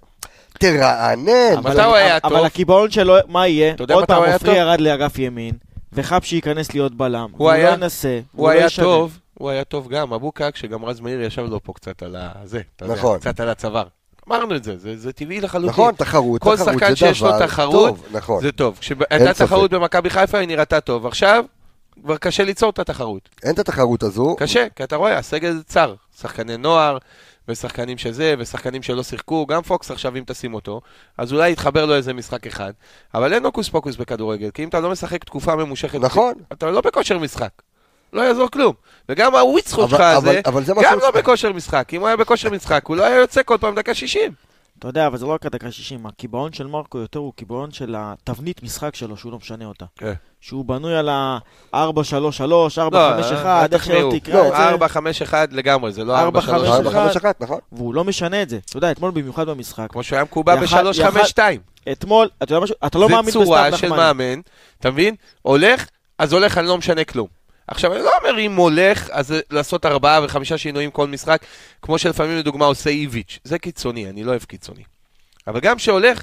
S1: תרענן,
S2: אבל- מתי הוא היה טוב?
S3: אבל הקיבעון שלו, מה יהיה?
S2: אתה יודע
S3: עוד
S2: מתי הוא
S3: פעם,
S2: היה
S3: עופרי
S2: טוב?
S3: ירד לאגף ימין, וחבשי ייכנס להיות בלם.
S2: הוא היה-
S3: לא ינסה,
S2: הוא
S3: לא
S2: היה
S3: ישנה.
S2: טוב, הוא היה טוב גם, אבוקה, כשגם רז מאיר ישב לו פה קצת על הזה, אתה יודע,
S1: נכון.
S2: קצת על הצוואר. אמרנו את זה, זה זה טבעי לחלוטין.
S1: נכון, תחרות,
S2: לא כל
S1: תחרות, זה
S2: שחקן שיש לו
S1: דבר
S2: תחרות,
S1: טוב, נכון,
S2: זה טוב. כשהייתה
S1: ספק.
S2: תחרות במכבי חיפה, היא נראתה טוב. עכשיו, כבר קשה ליצור את התחרות.
S1: אין את התחרות הזו,
S2: קשה, כי אתה רואה, הסגל צר. שחקני נוער, ושחקנים שזה, ושחקנים שלא שיחקו. גם פוקס עכשיו, אם תשים אותו, אז אולי יתחבר לו איזה משחק אחד. אבל אין הוקוס פוקוס בכדורגל, כי אם אתה לא משחק תקופה ממושכת,
S1: נכון.
S2: אתה לא בכושר משחק. לא יעזור כלום. וגם הוויצחוט
S1: אבל-
S2: שלך הזה,
S1: אבל- אבל זה מה
S2: גם
S1: שהוא-
S2: לא בכושר משחק. אם הוא היה בכושר משחק, הוא לא היה יוצא כל פעם דקה 60.
S3: אתה יודע, אבל זה לא רק הדקה 60, הקיבעון של מרקו יותר הוא קיבעון של התבנית משחק שלו, שהוא לא משנה אותה.
S2: כן.
S3: שהוא בנוי על ה-4-3-3, 4-5-1, איך שלא תקרא
S2: לא,
S3: את זה,
S2: 4, 5, 1 לגמרי, זה לא 4,
S3: 4,
S2: 3,
S1: 4,
S2: 1.
S1: 5, 1, נכון,
S3: והוא לא משנה את זה. אתה יודע, אתמול במיוחד במשחק,
S2: כמו שהוא היה מקובע
S3: יכל-
S2: ב-3,
S3: יכל-
S2: 5, 2.
S3: אתמול, אתה יודע משהו, אתה לא מאמין
S2: זה צורה
S3: בסתיו
S2: של
S3: נחמני.
S2: מאמן, אתה מבין? הולך, אז הולך, אני לא משנה כלום. עכשיו, אני לא אומר אם הולך, אז לעשות ארבעה וחמישה שינויים כל משחק, כמו שלפעמים לדוגמה עושה איביץ'. זה קיצוני, אני לא אוהב קיצוני. אבל גם שהולך,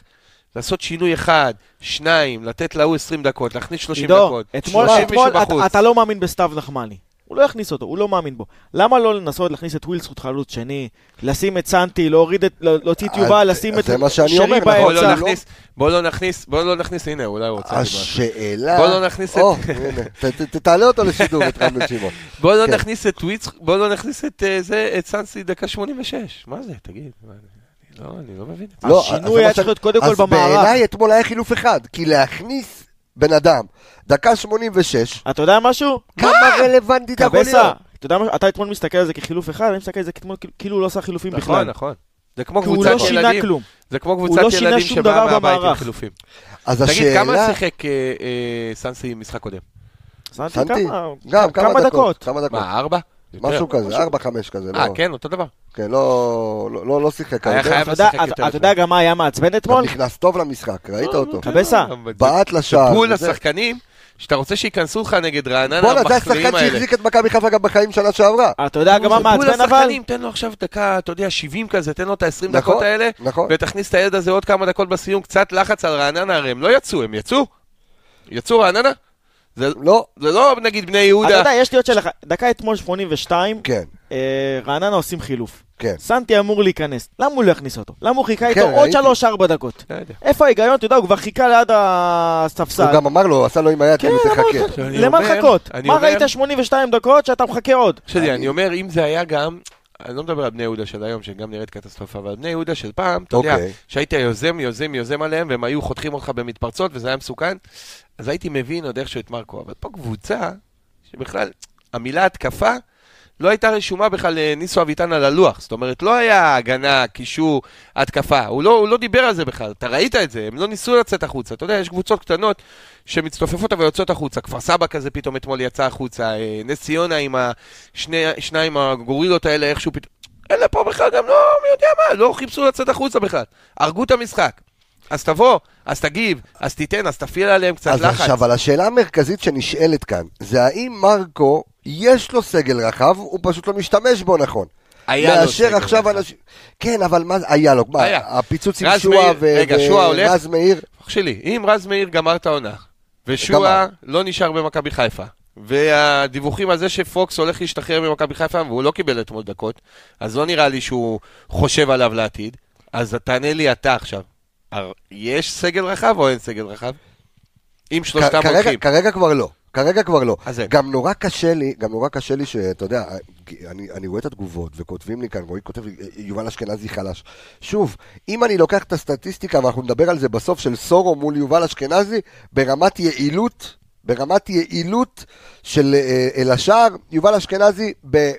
S2: לעשות שינוי אחד, שניים, לתת להוא 20 דקות, להכניס 30
S3: עידו,
S2: דקות.
S3: אתמול
S2: 30
S3: אתמול
S2: מישהו
S3: אתה-
S2: בחוץ.
S3: אתה לא מאמין בסתיו נחמני. הוא לא יכניס אותו, הוא לא מאמין בו. למה לא לנסות להכניס את ווילס חלוץ שני, לשים את סנטי, להוריד את, להוציא את
S1: אז-
S3: יובל, לשים את
S1: אה, זה מה שאני אומר,
S3: שרי
S1: נכון,
S2: בוא
S1: אתה
S2: לא
S3: באמצע?
S1: לא-
S2: נכניס, בוא לא נכניס, בוא לא נכניס, הנה, אולי הוא רוצה... לדבר.
S1: השאלה,
S2: בוא לא נכניס את-
S1: או, הנה, ת- ת- ת- תעלה אותו לשידור, את רן בן שמעון,
S2: בוא לא
S1: כן.
S2: נכניס את וויץ, בוא לא נכניס את אה, זה, את סנסי דקה 86. מה זה, תגיד? מה, אני לא, אני לא מבין את זה.
S1: לא, אז זה
S3: השינוי
S1: מה
S3: היה
S1: שאני-
S3: צריך להיות קודם כל
S1: אז
S3: במערך.
S1: בעיניי אתמול היה חילוף אחד, כי להכניס בן אדם, דקה 86,
S3: אתה יודע משהו?
S1: כמה רלוונטי זה כן, יכול
S3: קבסה,
S1: להיות?
S3: אתה יודע משהו? אתה אתמול מסתכל על זה כחילוף אחד, אני מסתכל על זה כתמול כאילו- כאילו הוא לא עשה חילופים
S2: נכון,
S3: בכלל.
S2: נכון. זה כמו
S3: כי הוא לא
S2: קבוצת
S3: שינה
S2: ילדים,
S3: כלום.
S2: זה כמו
S3: הוא
S2: קבוצת
S3: לא שינה
S2: ילדים
S3: שום דבר
S2: שבאה מהבית עם
S3: במערך.
S2: חילופים.
S1: אז
S2: תגיד, כמה
S1: השאלה...
S2: שיחק אה, אה, סנסי משחק קודם?
S3: סנטי
S1: שמתי?
S3: כמה-
S1: גם,
S3: כמה דקות.
S1: כמה דקות.
S2: מה, ארבע? יותר.
S1: משהו כזה,
S3: משהו-
S1: 4-5 כזה, לא,
S2: אה, כן, אותו דבר.
S1: כן, לא, לא, לא, לא שיחק
S2: היה
S1: הרבה,
S2: חייב
S3: אתה יודע-
S2: לשחק יותר
S3: אתה יודע גם מה היה מעצבן
S1: גם
S3: אתמול?
S1: נכנס טוב למשחק, ראית
S2: לא,
S1: אותו,
S3: אה, קבסה.
S1: בעט
S2: זה
S1: לשער,
S2: פול
S1: וזה.
S2: אה, השחקנים, שאתה רוצה שייכנסו לך נגד רעננה,
S1: בואנה, זה
S2: המחמיאים
S1: השחקן
S2: האלה.
S1: שהחזיק את מכבי חיפה גם בחיים שנה שעברה,
S3: אתה יודע גם מה
S2: זה
S3: מעצבן
S2: פול
S3: אבל?
S2: השחקנים, תן לו עכשיו דקה, אתה יודע, 70 כזה, תן לו את ה-20
S1: נכון.
S2: דקות האלה,
S1: נכון?
S2: ותכניס את הילד הזה עוד כמה דקות בסיום, קצת לחץ על רעננה, הרי הם לא יצאו, הם יצאו? יצאו רעננה? זה,
S1: לא,
S2: זה לא נגיד בני
S3: אתה
S2: יהודה.
S3: יודע, יש לי עוד שאלה, אחת. דקה אתמול 82,
S1: כן,
S3: אה, רעננה עושים חילוף.
S1: כן.
S3: סנטי אמור להיכנס, למה הוא לא הכניס אותו? למה הוא חיכה
S1: כן,
S3: איתו עוד
S1: ראיתי.
S3: 3-4 דקות?
S2: לא יודע.
S3: איפה ההיגיון? אתה יודע, הוא כבר חיכה ליד
S1: הוא
S3: הספסל.
S1: גם אמר לו, עשה לו עם היד,
S3: כן,
S1: כאילו
S3: למה
S1: תחכה,
S3: אתה-
S2: אני
S3: למה
S2: אומר-
S3: לחכות?
S2: אני
S3: מה
S2: אומר-
S3: ראית 82 דקות שאתה מחכה עוד?
S2: שלי,
S1: אני
S2: אני אומר, אם זה היה גם, אני לא מדבר על בני יהודה של היום, שגם נראית קטסטרופה, אבל בני יהודה של פעם, אתה יודע,
S1: אוקיי,
S2: שהיית יוזם, יוזם, יוזם עליהם, והם היו חותכים אותך במתפרצות, וזה היה מסוכן, אז הייתי מבין עוד איכשהו את מרקו. אבל פה קבוצה, שבכלל, המילה התקפה, לא הייתה רשומה בכלל אה, ניסו אביטן על הלוח. זאת אומרת, לא היה הגנה, קישור, התקפה. הוא לא, הוא לא דיבר על זה בכלל, אתה ראית את זה, הם לא ניסו לצאת החוצה. אתה יודע, יש קבוצות קטנות שמצטופפות אבל יוצאות החוצה. כפר סבא כזה פתאום אתמול יצא החוצה, אה, נס ציונה עם השניים הגורילות האלה איכשהו פתאום... אלה פה בכלל גם לא, מי יודע מה, לא חיפשו לצאת החוצה בכלל. הרגו את המשחק. אז תבוא, אז תגיב, אז תיתן, אז תפעיל עליהם קצת
S1: אז
S2: לחץ.
S1: עכשיו, אבל השאלה המרכזית שנשאלת כאן, זה האם מרקו, יש לו סגל רחב, הוא פשוט לא משתמש בו נכון,
S2: היה לו
S1: מאשר
S2: סגל
S1: עכשיו
S2: אחד.
S1: אנשים, כן, אבל מה, זה- היה לו, מה,
S2: היה.
S1: הפיצוץ עם
S2: רז
S1: שועה
S2: מאיר, רגע, שועה הולך?
S1: ורז מאיר,
S2: אח שלי, אם רז מאיר גמר את העונה,
S1: גמר.
S2: ושועה לא נשאר במכבי חיפה, והדיווחים על זה שפוקס הולך להשתחרר ממכבי חיפה, והוא לא קיבל אתמול דקות, אז לא נראה לי שהוא חושב עליו לעתיד, אז תענה לי אתה עכשיו, הר- יש סגל רחב או אין סגל רחב? אם שלושתם
S1: כ- כרגע-
S2: הולכים.
S1: כרגע כבר לא, כרגע כבר לא.
S2: אז אין.
S1: גם נורא קשה לי, גם נורא קשה לי שאתה יודע, כי אני, אני רואה את התגובות וכותבים לי כאן, רועי כותב לי, "אה, יובל אשכנזי חלש. שוב, אם אני לוקח את הסטטיסטיקה, ואנחנו נדבר על זה בסוף, של סורו מול יובל אשכנזי, ברמת יעילות, אה, ברמת יעילות של אה, אל השער, יובל אשכנזי ב...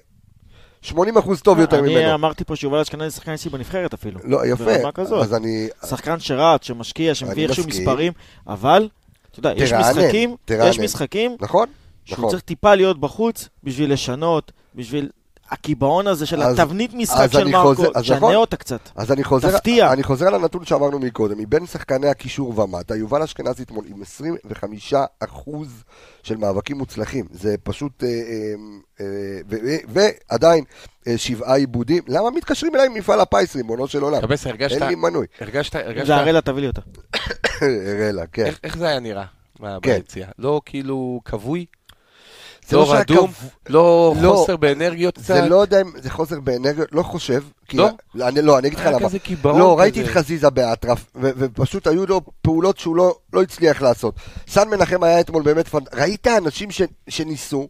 S1: 80 אחוז טוב יותר
S3: אני
S1: ממנו.
S3: אמרתי פה שיובל אשכנזי שחקן יציב בנבחרת אפילו.
S1: לא,
S3: ברמה
S1: יפה.
S3: כזאת.
S1: אז אני...
S3: שחקן שרץ, שמשקיע,
S1: אני
S3: שמביא איכשהו
S1: מסכים.
S3: מספרים, אבל, אתה יודע, יש
S1: תרענן,
S3: משחקים, יש
S1: תרענן.
S3: משחקים
S1: נכון?
S3: שהוא
S1: נכון.
S3: צריך טיפה להיות בחוץ בשביל לשנות, בשביל הקיבעון הזה של
S1: אז-
S3: התבנית משחק
S1: אז
S3: של
S1: אני
S3: מרקו,
S1: חוזר- אז נכון.
S3: שנה אותה קצת.
S1: אז אני חוזר,
S3: תפתיע.
S1: אני חוזר על הנתון שאמרנו מקודם, מבין שחקני הקישור ומטה, יובל אשכנזי אתמול עם 25 אחוז של מאבקים מוצלחים. זה פשוט... אה, אה, אה, ו- ו- ועדיין, אה, שבעה עיבודים. למה מתקשרים אליי ממפעל הפיס, ריבונו של עולם?
S2: קבס, הרגשת,
S1: אין לי מנוי.
S2: הרגשת, הרגשת,
S3: זה
S1: לא-
S3: הראלה, תביא לי אותה.
S1: אראלה, כן.
S2: איך- איך זה היה נראה? מה,
S1: כן.
S2: ביציאה? לא כאילו כבוי?
S1: זה לא
S2: לא
S1: שהיה
S2: רדום?
S1: כב-
S2: לא
S1: לא,
S2: חוסר באנרגיות קצת?
S1: זה לא יודע אם זה חוסר באנרגיות, לא חושב. כי-
S2: לא?
S1: אני- לא, אני אגיד לך
S2: היה
S1: למה.
S2: כזה קיבעון
S1: לא, ראיתי את
S2: כזה.
S1: חזיזה באטרף, ו- ופשוט היו לו פעולות שהוא לא, לא הצליח לעשות. סן מנחם היה אתמול באמת פנ... ראית אנשים ש... שניסו,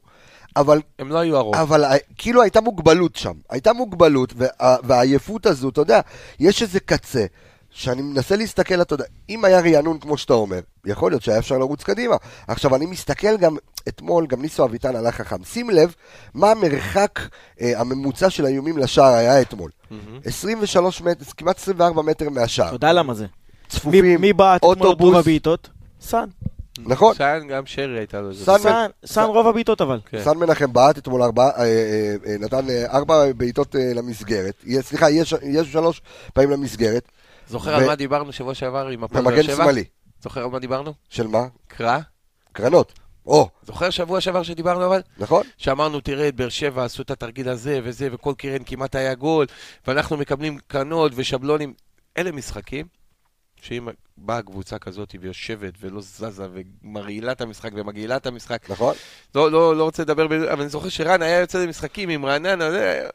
S1: אבל,
S2: הם לא היו הרוב.
S1: אבל ה- כאילו הייתה מוגבלות שם. הייתה מוגבלות, וה... והעייפות הזו, אתה יודע, יש איזה קצה, שאני מנסה להסתכל, אתה יודע, אם היה רענון כמו שאתה אומר, יכול להיות שהיה אפשר לרוץ קדימה. עכשיו, אני מסתכל גם אתמול, גם ניסו אביטן הלך חכם. שים לב מה המרחק אה, הממוצע של האיומים לשער היה אתמול.
S2: מהמם.
S1: 23 מטר, כמעט 24 מטר מהשער.
S3: אתה יודע למה זה.
S1: צפופים,
S3: מי- מי בא אתמול
S1: אה. אוטובוס.
S3: רוב הבעיטות? סאן.
S1: נכון.
S2: סאן, גם שרי הייתה לו איזה...
S1: סאן-
S2: בסדר.
S3: סאן- סאן רוב הבעיטות אבל.
S2: כן.
S1: סן מנחם בעט אתמול ארבע, אה, אה, אה, נתן אה, ארבע בעיטות אה, למסגרת. יהיה- סליחה, יש יש שלוש פעמים למסגרת.
S2: זוכר
S1: ו-
S2: על מה דיברנו שבוע שעבר עם הפועל באר
S1: במגן
S2: שבע?
S1: שמאלי.
S2: זוכר על מה דיברנו?
S1: של מה?
S2: קרא?
S1: קרנות. או,
S2: זוכר שבוע שעבר שדיברנו אבל?
S1: נכון?
S2: שאמרנו, תראה, את באר שבע עשו את התרגיל הזה וזה, וכל קרן כמעט היה גול, ואנחנו מקבלים קרנות ושבלונים. אלה משחקים שאם באה קבוצה כזאת ויושבת ולא זזה ומרעילה את המשחק ומגעילה את המשחק,
S1: נכון?
S2: לא, לא, לא רוצה לדבר, ב... אבל אני זוכר שרן היה יוצא למשחקים עם רעננה, זה...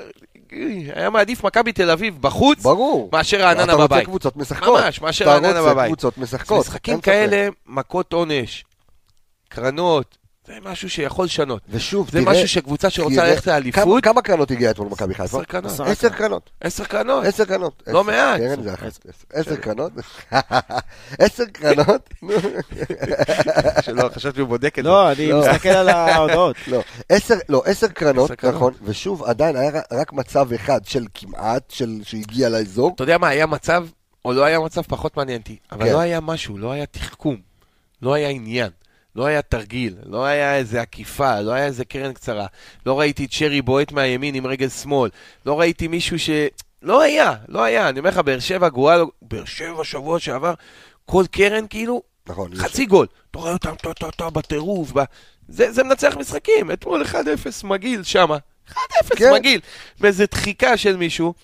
S2: היה מעדיף מכבי תל אביב בחוץ
S1: ברור.
S2: מאשר רעננה
S1: אתה רוצה
S2: בבית.
S1: קבוצות משחקות.
S2: ממש, מאשר
S1: אתה
S2: רעננה
S1: רוצה
S2: בבית.
S1: קבוצות
S2: אז
S1: משחקות.
S2: משחקים
S1: אין ספק.
S2: כאלה, מכות עונש, קרנות, זה משהו שיכול לשנות.
S1: ושוב,
S2: זה
S1: תראה,
S2: משהו שקבוצה שרוצה
S1: תראה,
S2: ללכת
S1: כמה-
S2: לאליפות,
S1: כמה קרנות הגיע אתמול מכבי חיפה?
S2: עשר קרנות.
S1: עשר קרנות.
S2: עשר קרנות.
S1: עשר קרנות.
S2: לא
S1: עשר.
S2: מעט.
S1: קרן זה אחת.
S3: עשר.
S1: עשר קרנות? עשר קרנות? נו.
S2: שלא, חשבתי הוא בודק את
S3: לא, אני
S1: לא.
S3: מסתכל על ההודעות.
S1: לא, עשר, לא, עשר קרנות,
S2: עשר קרנות.
S1: נכון, ושוב, עדיין היה ר- רק מצב אחד של כמעט, של שהגיע לאזור.
S2: אתה יודע מה, היה מצב, או לא היה מצב, פחות מעניין אותי. אבל
S1: כן.
S2: לא היה משהו, לא היה תחכום, לא היה עניין, לא היה תרגיל, לא היה איזה עקיפה, לא היה איזה קרן קצרה. לא ראיתי את שרי בועט מהימין עם רגל שמאל. לא ראיתי מישהו ש... לא היה, לא היה. אני אומר לך, באר שבע גרועה לו, באר שבע שבוע שעבר, כל קרן כאילו,
S1: נכון,
S2: חצי גול. אתה רואה אותם טו-טו-טו בטירוף. ב- זה זה מנצח משחקים. אתמול 1-0 מגעיל שמה. 1-0
S1: כן.
S2: מגעיל. מאיזה דחיקה של מישהו.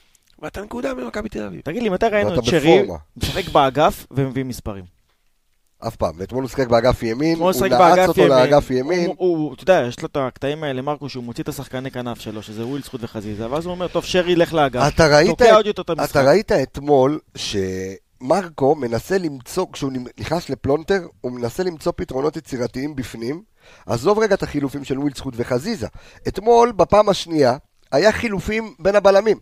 S2: ואתה נקודה ממכבי תל אביב.
S3: תגיד לי, מתי ראינו
S1: ואתה
S3: את שרי
S1: בפורמה.
S3: משחק באגף ומביא מספרים?
S1: אף פעם. ואתמול הוא שיחק באגף ימין, הוא
S3: אתמול שיחק
S1: נעץ
S3: באגף
S1: אותו
S3: ימין.
S1: לאגף ימין.
S3: הוא- הוא, אתה יודע, יש לו את הקטעים האלה, מרקו, שהוא מוציא את השחקני כנף שלו, שזה ווילס חוט וחזיזה, ואז הוא אומר, טוב, שרי, לך לאגף.
S1: אתה ראית,
S3: תוקע עוד יותר את
S1: אתה
S3: המשחק.
S1: ראית אתמול שמרקו מנסה למצוא, כשהוא נכנס לפלונטר, הוא מנסה למצוא פתרונות יצירתיים בפנים. עזוב רגע את החילופים של ווילדסחוט וחזיזה. אתמול, בפעם השנייה, היה חילופים בין הבלמים.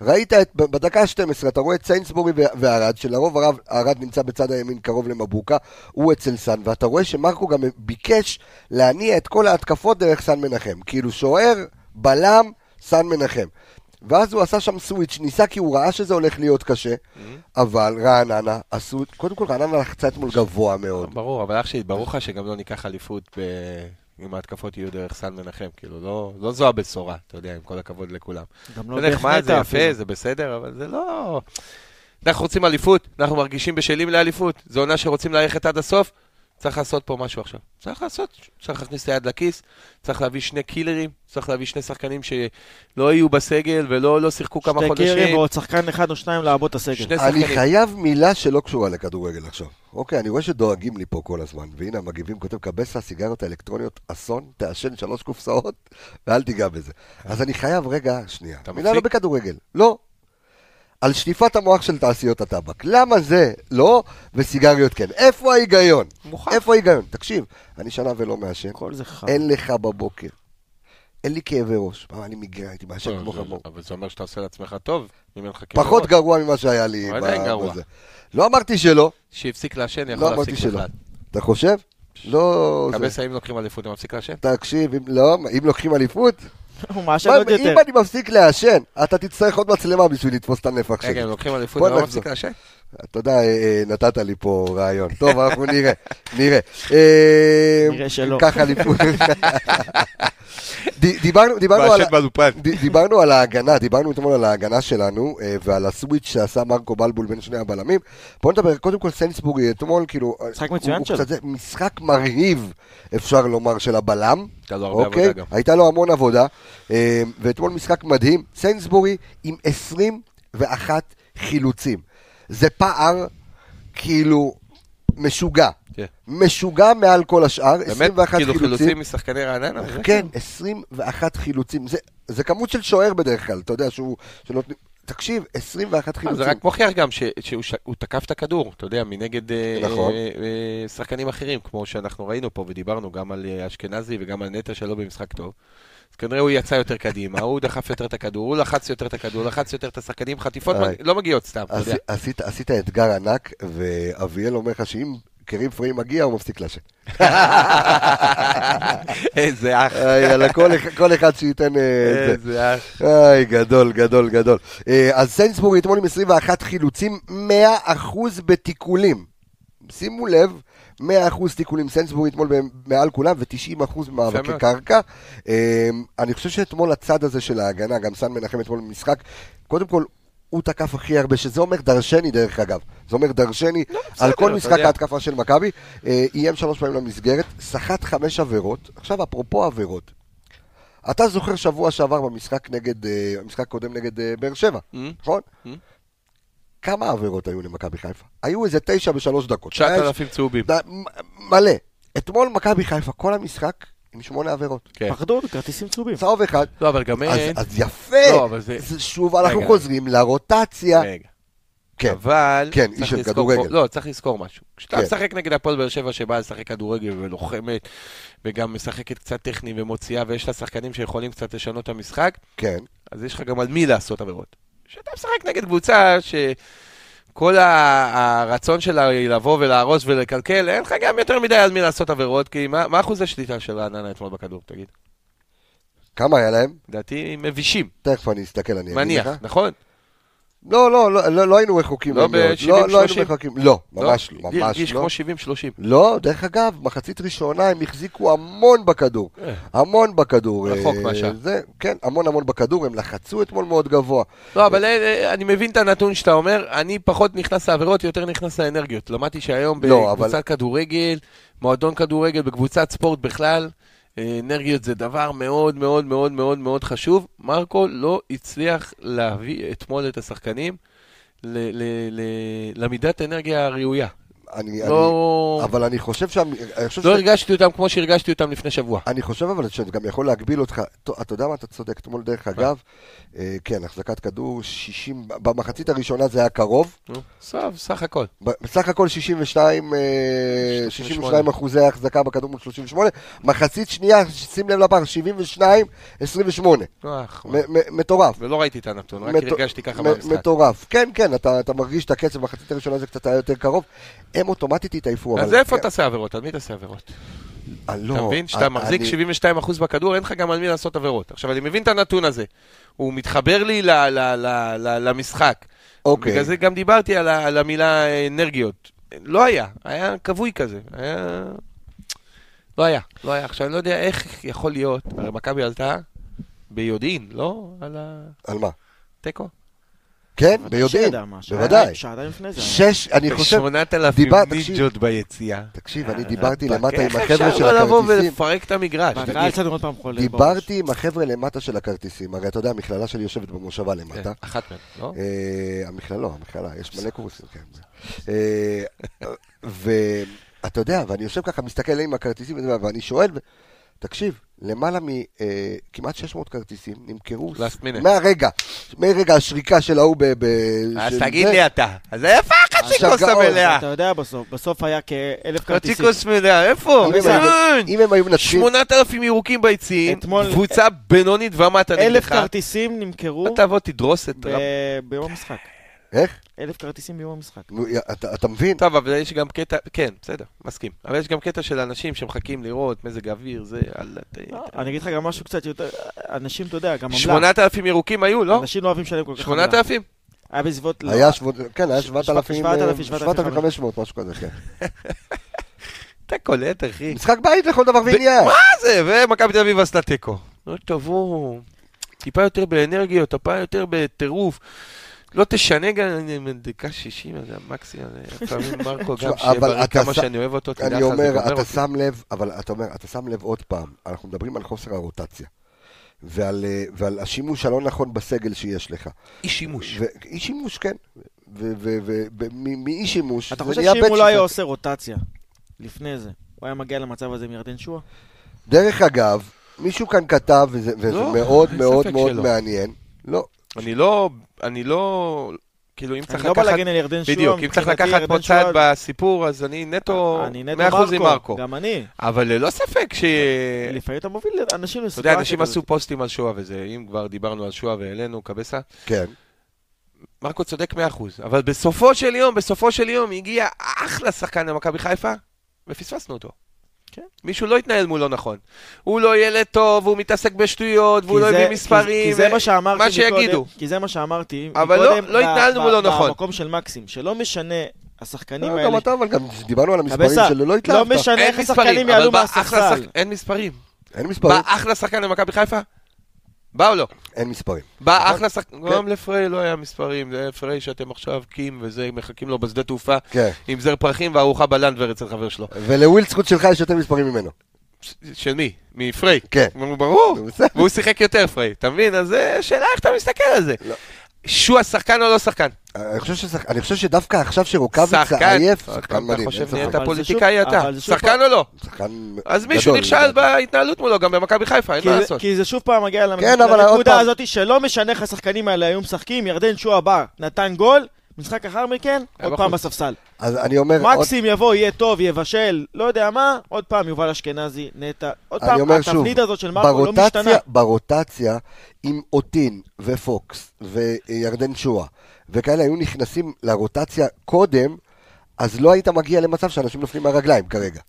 S1: ראית את, ב- בדקה ה-12, אתה רואה את סיינסבורי ו- וערד, שלרוב הרב, ערד נמצא בצד הימין קרוב למבוקה, הוא אצל סאן, ואתה רואה שמרקו גם ביקש להניע את כל ההתקפות דרך סאן מנחם. כאילו שוער, בלם, סאן מנחם. ואז הוא עשה שם סוויץ', ניסה כי הוא ראה שזה הולך להיות קשה, אבל רעננה עשו, קודם כל רעננה לחצה אתמול גבוה מאוד.
S2: ברור, אבל אח שלי, ברור לך שגם לא ניקח אליפות ב... אם ההתקפות יהיו דרך סן מנחם. כאילו, לא, לא זו הבשורה, אתה יודע, עם כל הכבוד לכולם.
S3: גם לא
S2: זה נחמד,
S3: דרך
S2: זה
S3: נטע
S2: יפה,
S3: אפילו.
S2: זה בסדר, אבל זה לא... אנחנו רוצים אליפות, אנחנו מרגישים בשלים לאליפות. זו עונה שרוצים ללכת עד הסוף, צריך לעשות פה משהו עכשיו. צריך לעשות, צריך להכניס את היד לכיס, צריך להביא שני קילרים, צריך להביא שני שחקנים שלא יהיו בסגל ולא לא שיחקו כמה
S3: שתי קירים
S2: חודשים.
S3: ועוד שחקן אחד או שניים לעבות את הסגל.
S2: שני
S1: אני
S2: שחקנים.
S1: חייב מילה שלא קשורה לכדורגל עכשיו. אוקיי, אני רואה שדואגים לי פה כל הזמן, והנה המגיבים כותב קבסה, הסיגריות האלקטרוניות אסון, תעשן שלוש קופסאות, ואל תיגע בזה. אז אני חייב, רגע, שנייה.
S2: אתה
S1: מילה לא
S2: מפסיק?
S1: בכדורגל, לא. על שטיפת המוח של תעשיות הטבק. למה זה לא וסיגריות כן? איפה ההיגיון?
S2: מוכח. נכון.
S1: איפה ההיגיון? תקשיב, אני שנה ולא מעשן,
S3: כל זה חם.
S1: אין לך בבוקר. אין לי כאבי ראש. פעם אני מגרע, הייתי מעשן כמו
S2: לא, זה-
S1: חמור.
S2: אבל זה אומר שאתה עושה לעצמך טוב, אם אין לך כאבי
S1: פחות
S2: ראש.
S1: גרוע ממה שהיה לי.
S2: כן, נכון. אבל
S1: ב-
S2: עדיין גרוע.
S1: בזה. לא אמרתי שלא.
S2: שהפסיק לעשן,
S1: לא
S2: יכול
S1: אמרתי
S2: להפסיק
S1: שלא.
S2: בכלל.
S1: אתה חושב? לא... זה-
S2: קבסה אם לוקחים אליפות, הוא מפסיק לעשן?
S1: תקשיב, אם לא, אם לוקחים אליפות,
S3: הוא מעשן עוד יותר.
S1: אם אני מפסיק לעשן, אתה תצטרך עוד מצלמה בשביל לתפוס את הנפח שלי.
S2: רגע, הם לוקחים אליפות,
S1: בוא
S2: אני לא
S1: נחזור.
S2: מפסיק לעשן?
S1: אתה יודע, אה, אה, נתת לי פה רעיון. טוב, אנחנו נראה, נראה. אה,
S3: נראה שלא.
S1: ככה ליפול. ד- דיברנו דיברנו על...
S4: מעשן באולפן.
S1: ד- דיברנו על ההגנה, דיברנו אתמול על ההגנה שלנו אה, ועל הסוויץ' שעשה מרקו בלבול בין שני הבלמים. בוא נדבר, קודם כל סנסבורי אתמול, כאילו...
S3: משחק
S1: הוא-
S3: מצוין
S1: הוא
S3: שלו.
S1: קצת זה- משחק מרהיב, אפשר לומר, של הבלם. אוקיי?
S2: הייתה לו הרבה עבודה גם.
S1: הייתה לו המון עבודה, אה, ואתמול משחק מדהים. סיינסבורי עם 21 חילוצים. זה פער כאילו משוגע.
S2: כן.
S1: משוגע מעל כל השאר,
S2: באמת,
S1: 21
S2: כאילו
S1: חילוצים.
S2: חילוצים משחקני רעננה? זה אה,
S1: כן, 21 חילוצים. זה- זה כמות של שוער בדרך כלל, אתה יודע, שהוא... שנותנים- תקשיב, 21
S2: אה, זה
S1: חילוצים.
S2: רק מוכיח גם ש- שהוא ש- הוא תקף את הכדור, אתה יודע, מנגד אה,
S1: נכון.
S2: אה, אה, שחקנים אחרים, כמו שאנחנו ראינו פה ודיברנו גם על אה, אשכנזי וגם על נטע שלא במשחק טוב. אז כנראה הוא יצא יותר קדימה, הוא דחף יותר את הכדור, הוא לחץ יותר את הכדור, לחץ יותר את השחקנים, חטיפות
S1: איי.
S2: מג- לא מגיעות סתם, אתה
S1: אה. אז-
S2: יודע.
S1: עשית- עשית אתגר ענק, ואביאל אומר לך שאם קרים פריי מגיע, הוא מפסיק לעשן.
S2: איזה אח,
S1: אה, יאללה, כל אחד- כל אחד שייתן... אה, זה.
S2: איזה אח.
S1: איי, גדול, גדול, גדול. אה, אז סיינסבורי אתמול עם 21 חילוצים, 100% בתיקולים. שימו לב, 100% תיקולים. סיינסבורי אתמול ב- מעל כולם, ו-90% מאבקי
S2: מאוד.
S1: קרקע. אה, אני חושב שאתמול הצד הזה של ההגנה, גם סן מנחם אתמול במשחק, קודם כל... הוא תקף הכי הרבה, שזה אומר דרשני דרך אגב. זה אומר דרשני על כל
S2: לא, אתה
S1: משחק
S2: יודע.
S1: ההתקפה של מכבי. אה, איים שלוש פעמים למסגרת, סחט חמש עבירות. עכשיו, אפרופו עבירות, אתה זוכר שבוע שעבר במשחק נגד, אה, המשחק הקודם נגד אה, באר שבע, נכון?
S2: Mm.
S1: כמה עבירות היו למכבי חיפה? היו איזה תשע בשלוש דקות.
S2: 9,000 צהובים.
S1: היה- ד- מ- מלא. אתמול מכבי חיפה, כל המשחק עם שמונה עבירות.
S2: כן.
S3: פחדו, כרטיסים צהובים.
S1: צהוב אחד,
S2: לא, אבל גם
S1: אז,
S2: אין.
S1: אז יפה.
S2: לא, אבל זה...
S1: אז שוב אנחנו
S2: רגע.
S1: חוזרים לרוטציה.
S2: רגע.
S1: כן.
S2: אבל...
S1: כן,
S2: צריך
S1: איש של
S2: לזכור
S1: כדורגל.
S2: פה- לא, צריך לזכור משהו. כשאתה
S1: כן.
S2: משחק נגד הפועל באר שבע שבאה לשחק כדורגל ולוחמת, וגם משחקת קצת טכני ומוציאה, ויש לה שחקנים שיכולים קצת לשנות את המשחק,
S1: כן,
S2: אז יש לך גם על מי לעשות עבירות. כשאתה משחק נגד קבוצה ש... כל ה- הרצון שלה היא לבוא ולהרוס ולקלקל, אין לך גם יותר מדי על מי לעשות עבירות, כי מה מה אחוז השליטה של רעננה אתמול בכדור, תגיד?
S1: כמה היה להם?
S2: לדעתי מבישים,
S1: תכף אני אסתכל, אני אגיד
S2: מניח,
S1: לך.
S2: נכון?
S1: לא, לא, לא, לא, לא היינו רחוקים.
S2: לא
S1: מאוד.
S2: ב-
S1: לא, לא היינו
S2: 70-30?
S1: רחוקים. לא, ממש לא,
S2: לי
S1: ממש
S2: הרגיש
S1: לא.
S2: כמו 70-30.
S1: לא, דרך אגב, מחצית ראשונה הם החזיקו המון בכדור.
S2: אה.
S1: המון בכדור.
S2: רחוק
S1: אה,
S2: מהשאר.
S1: זה, כן, המון המון בכדור, הם לחצו אתמול מאוד גבוה.
S2: לא, אבל אה, אה, אני מבין את הנתון שאתה אומר, אני פחות נכנס לעבירות, יותר נכנס לאנרגיות. למדתי שהיום
S1: לא, אבל-
S2: בקבוצת כדורגל, מועדון כדורגל, בקבוצת ספורט בכלל, אה, אנרגיות זה דבר מאוד מאוד מאוד מאוד מאוד חשוב. מרקו לא הצליח להביא אתמול את השחקנים ל- ל- ל- למידת אנרגיה הראויה.
S1: אני,
S2: לא
S1: אני, אבל אני חושב שם, אני חושב,
S2: לא
S1: ש...
S2: הרגשתי אותם כמו שהרגשתי אותם לפני שבוע.
S1: אני חושב אבל שאני גם יכול להגביל אותך, ת- אתה יודע מה, אתה צודק, אתמול דרך אגב, אה, כן, החזקת כדור 60, במחצית הראשונה זה היה קרוב,
S2: נו, סוף, סך הכל.
S1: ב- בסך הכל 62, אה, 62
S2: 38.
S1: אחוזי החזקה בכדור מול 38, מחצית שנייה, שים לב לפער, 72, 28,
S2: נו, אח,
S1: מ- מ- מטורף.
S2: ולא ראיתי את הנתון, רק
S1: מטו-
S2: הרגשתי ככה
S1: מ-
S2: במשחק.
S1: מטורף. כן, כן, אתה אתה מרגיש את הקצב, במחצית הראשונה זה קצת היה יותר קרוב. הם אוטומטית התעייפו.
S2: אז
S1: אבל-
S2: איפה תעשה עבירות? על מי תעשה עבירות?
S1: אה, לא,
S2: אתה מבין?
S1: אה,
S2: כשאתה מחזיק
S1: אני-
S2: 72% בכדור, אין לך גם על מי לעשות עבירות. עכשיו, אני מבין את הנתון הזה. הוא מתחבר לי ל- ל- ל- ל- למשחק.
S1: אוקיי.
S2: בגלל זה גם דיברתי על ה- על המילה אה, אנרגיות. לא היה, היה כבוי כזה. היה... לא היה, לא היה. עכשיו, אני לא יודע איך יכול להיות, הרי מכבי עלתה ביודעין, לא? על
S1: על מה?
S2: התיקו.
S1: כן,
S3: בוודאי
S1: ביודעין,
S3: שידע משהו.
S1: בוודאי.
S3: היה שעתיים לפני זה.
S1: שש, אני חושב...
S2: 8,000
S1: דיבר- תקשיב.
S2: ניג'ות ביציאה.
S1: תקשיב, אני דיברתי
S2: רבאק,
S1: למטה עם
S2: איך
S1: החבר'ה של
S2: אפשר לא לבוא
S1: הכרטיסים.
S2: ולפרק את המגרש?
S3: בהתחלה
S2: תגיד.
S3: יצאנו עוד פעם חולה. בראש.
S1: דיברתי עם החבר'ה למטה של הכרטיסים. הרי אתה יודע, המכללה שלי יושבת במושבה למטה.
S2: אחת מהן, לא?
S1: אה, המכללה, לא, המכללה, יש מלא קורסים, כן. אה, ואתה יודע, ואני יושב ככה, מסתכל עליהם עם הכרטיסים, וזה, ואני שואל, ו- תקשיב, למעלה אה, מכמעט 600 כרטיסים נמכרו
S2: Last minute.
S1: מהרגע, מרגע השריקה של ההוא ב... ב-
S2: אז
S1: של
S2: תגיד
S1: זה.
S2: לי אתה. אז איפה החצ'יקוס
S1: עכשיו גאון,
S2: המלאה?
S3: אתה יודע בסוף, בסוף היה כאלף כרטיסים.
S2: חצ'יקוס מלאה, איפה?
S1: אם הם היו- אם הם היו מנצחים,
S2: 8,000 ירוקים ביציעים,
S3: אתמול-
S2: קבוצה בינונית ומטה
S3: אלף
S2: נגדך.
S3: כרטיסים נמכרו
S2: אתה תבוא תדרוס את
S3: ב-
S2: רב...
S3: ביום המשחק.
S1: איך?
S3: אלף כרטיסים ביום המשחק.
S1: נו, יא, אתה, אתה מבין?
S2: טוב, אבל יש גם קטע, כן, בסדר, מסכים. אבל יש גם קטע של אנשים שמחכים לראות מזג האוויר, זה, יאללה, ת-
S3: לא, אני אגיד לך גם משהו קצת יותר, אנשים, אתה יודע, גם עמלה.
S2: 8,000 ירוקים היו, לא?
S3: אנשים לא אוהבים לשלם כל כך עמלה.
S2: 8,000?
S3: היה בסביבות... לא,
S1: היה שבע... כן, היה
S3: ש-
S1: 7,000,
S3: 7,000,
S1: 7,500, משהו כזה, כן.
S2: אתה קולט, אחי.
S1: משחק בית לכל דבר ועניין.
S2: מה זה? ומכבי תל אביב עשתה תיקו. לא תבואו טיפה יותר באנרגיות, טיפה יותר בטירוף. לא תשנה גם אני- דקה 60, זה המקסימום, זה לפעמים מרקו
S1: תשמע,
S2: גם שיהיה
S1: אבל
S2: בריא
S1: אתה
S2: כמה
S1: ש-
S2: שאני אוהב אותו, תדע לך,
S1: אני
S2: זה
S1: אומר,
S2: גומר
S1: אתה
S2: אותי.
S1: שם לב, אבל אתה אומר, אתה שם לב עוד פעם, אנחנו מדברים על חוסר הרוטציה. ועל, אה, ועל השימוש הלא נכון בסגל שיש לך.
S2: אי שימוש.
S1: ואי שימוש, כן. ומאי שימוש,
S3: אתה
S1: זה
S3: חושב
S1: נהיה אוקיי.
S3: שאם
S1: בית
S3: הוא לא היה
S1: שיפוט.
S3: עושה רוטציה לפני זה, הוא היה מגיע למצב הזה עם ירדן שועה?
S1: דרך אגב, מישהו כאן כתב, וזה, וזה
S2: לא,
S1: מאוד
S2: אין
S1: מאוד
S2: ספק
S1: מאוד
S2: שלא.
S1: מעניין. לא,
S2: אני לא, אני לא, כאילו אם
S3: אני
S2: צריך
S3: לא בא
S2: לקחת,
S3: להגן על ירדן שועה.
S2: בדיוק, אם צריך
S3: מבחינתי
S2: לקחת
S3: ירדן
S2: פה צעד
S3: שועה-
S2: בסיפור, אז אני נטו
S3: אני נטו
S2: 100% עם מרקו.
S3: גם אני.
S2: אבל ללא ספק ש...
S3: לפעמים אתה מוביל אנשים
S2: אתה יודע,
S3: לסיטואציה
S2: אנשים
S3: כזאת.
S2: עשו פוסטים על שואה וזה, אם כבר דיברנו על שואה והעלינו קבסה,
S1: כן.
S2: מרקו צודק 100%, אבל בסופו של יום, בסופו של יום הגיע אחלה שחקן למכבי חיפה, ופספסנו אותו.
S3: כן.
S2: מישהו לא התנהל מולו נכון. הוא לא ילד טוב, הוא מתעסק בשטויות,
S3: כי
S2: והוא לא
S3: זה-
S2: הביא
S3: כי-
S2: מספרים.
S3: כי זה
S2: ו-
S3: מה שאמרתי
S2: מה שיגידו.
S3: מקודם- כי זה מה שאמרתי.
S2: אבל לא-
S3: מקודם
S2: לא
S3: ב-
S2: התנהלנו
S3: ב-
S2: מולו נכון.
S3: במקום של מקסים, שלא משנה, השחקנים
S1: לא,
S3: האלה...
S1: גם אתה, אבל גם דיברנו על המספרים
S3: קבסה,
S1: שלו, לא
S3: לא
S1: התלהבת.
S3: משנה
S2: אין
S3: איך
S2: מספרים,
S3: השחקנים
S2: אבל
S3: יעלו
S2: בא אחלה
S3: מהספסל.
S2: שחק- אין מספרים.
S1: אין מספרים.
S2: בא אחלה שחקן למכבי חיפה? בא או לא?
S1: אין מספרים.
S2: בא
S3: נכון.
S2: אחלה שחקן,
S3: כן.
S2: גם לפריי לא היה מספרים, זה היה פריי שאתם עכשיו קים וזה, מחכים לו בשדה תעופה
S1: כן.
S2: עם זר פרחים וארוחה בלנדבר אצל חבר שלו.
S1: ולווילדסקוט שלך יש יותר מספרים ממנו.
S2: של מי? מפריי.
S1: כן.
S2: נו, ברור.
S1: בסדר.
S2: והוא שיחק יותר פריי, אתה מבין? אז אה, שאלה איך אתה מסתכל על זה.
S1: לא.
S2: שועה שחקן או לא שחקן?
S1: אני חושב ששח- אני חושב שדווקא עכשיו שרוקאביצה
S2: שחקן.
S1: עייף,
S2: אתה
S1: שחקן מדהים. אין
S2: חושב
S1: ספק.
S2: נהיית
S3: אבל זה
S2: פוליטיקאי
S3: שוב-
S2: אתה.
S3: אבל זה שוב
S2: שחקן או לא?
S1: שחקן
S2: אז מישהו
S1: גדול.
S2: נכשל בהתנהלות מולו, גם במכבי חיפה, אין
S3: כי
S2: מה
S3: זה-
S2: לעשות.
S3: כי זה שוב פעם מגיע למ-
S1: כן, אבל עוד
S3: לנקודה
S1: פעם-
S3: הזאת שלא משנה איך השחקנים האלה היו משחקים, ירדן שועה בא, נתן גול, משחק אחר מכן,
S2: היה
S3: עוד
S2: בחוץ.
S3: פעם בספסל.
S1: אז אני אומר, עוד-
S3: מקסים יבוא, יהיה טוב, יבשל, לא יודע מה, עוד פעם יובל אשכנזי, נטע. עוד
S1: אני
S3: פעם,
S1: אומר שוב,
S3: התבנית הזאת של מרקו לא משתנה.
S1: ברוטציה, ברוטציה, אם אוטין ופוקס וירדן שואה וכאלה היו נכנסים לרוטציה קודם, אז לא היית מגיע למצב שאנשים נופלים מהרגליים כרגע.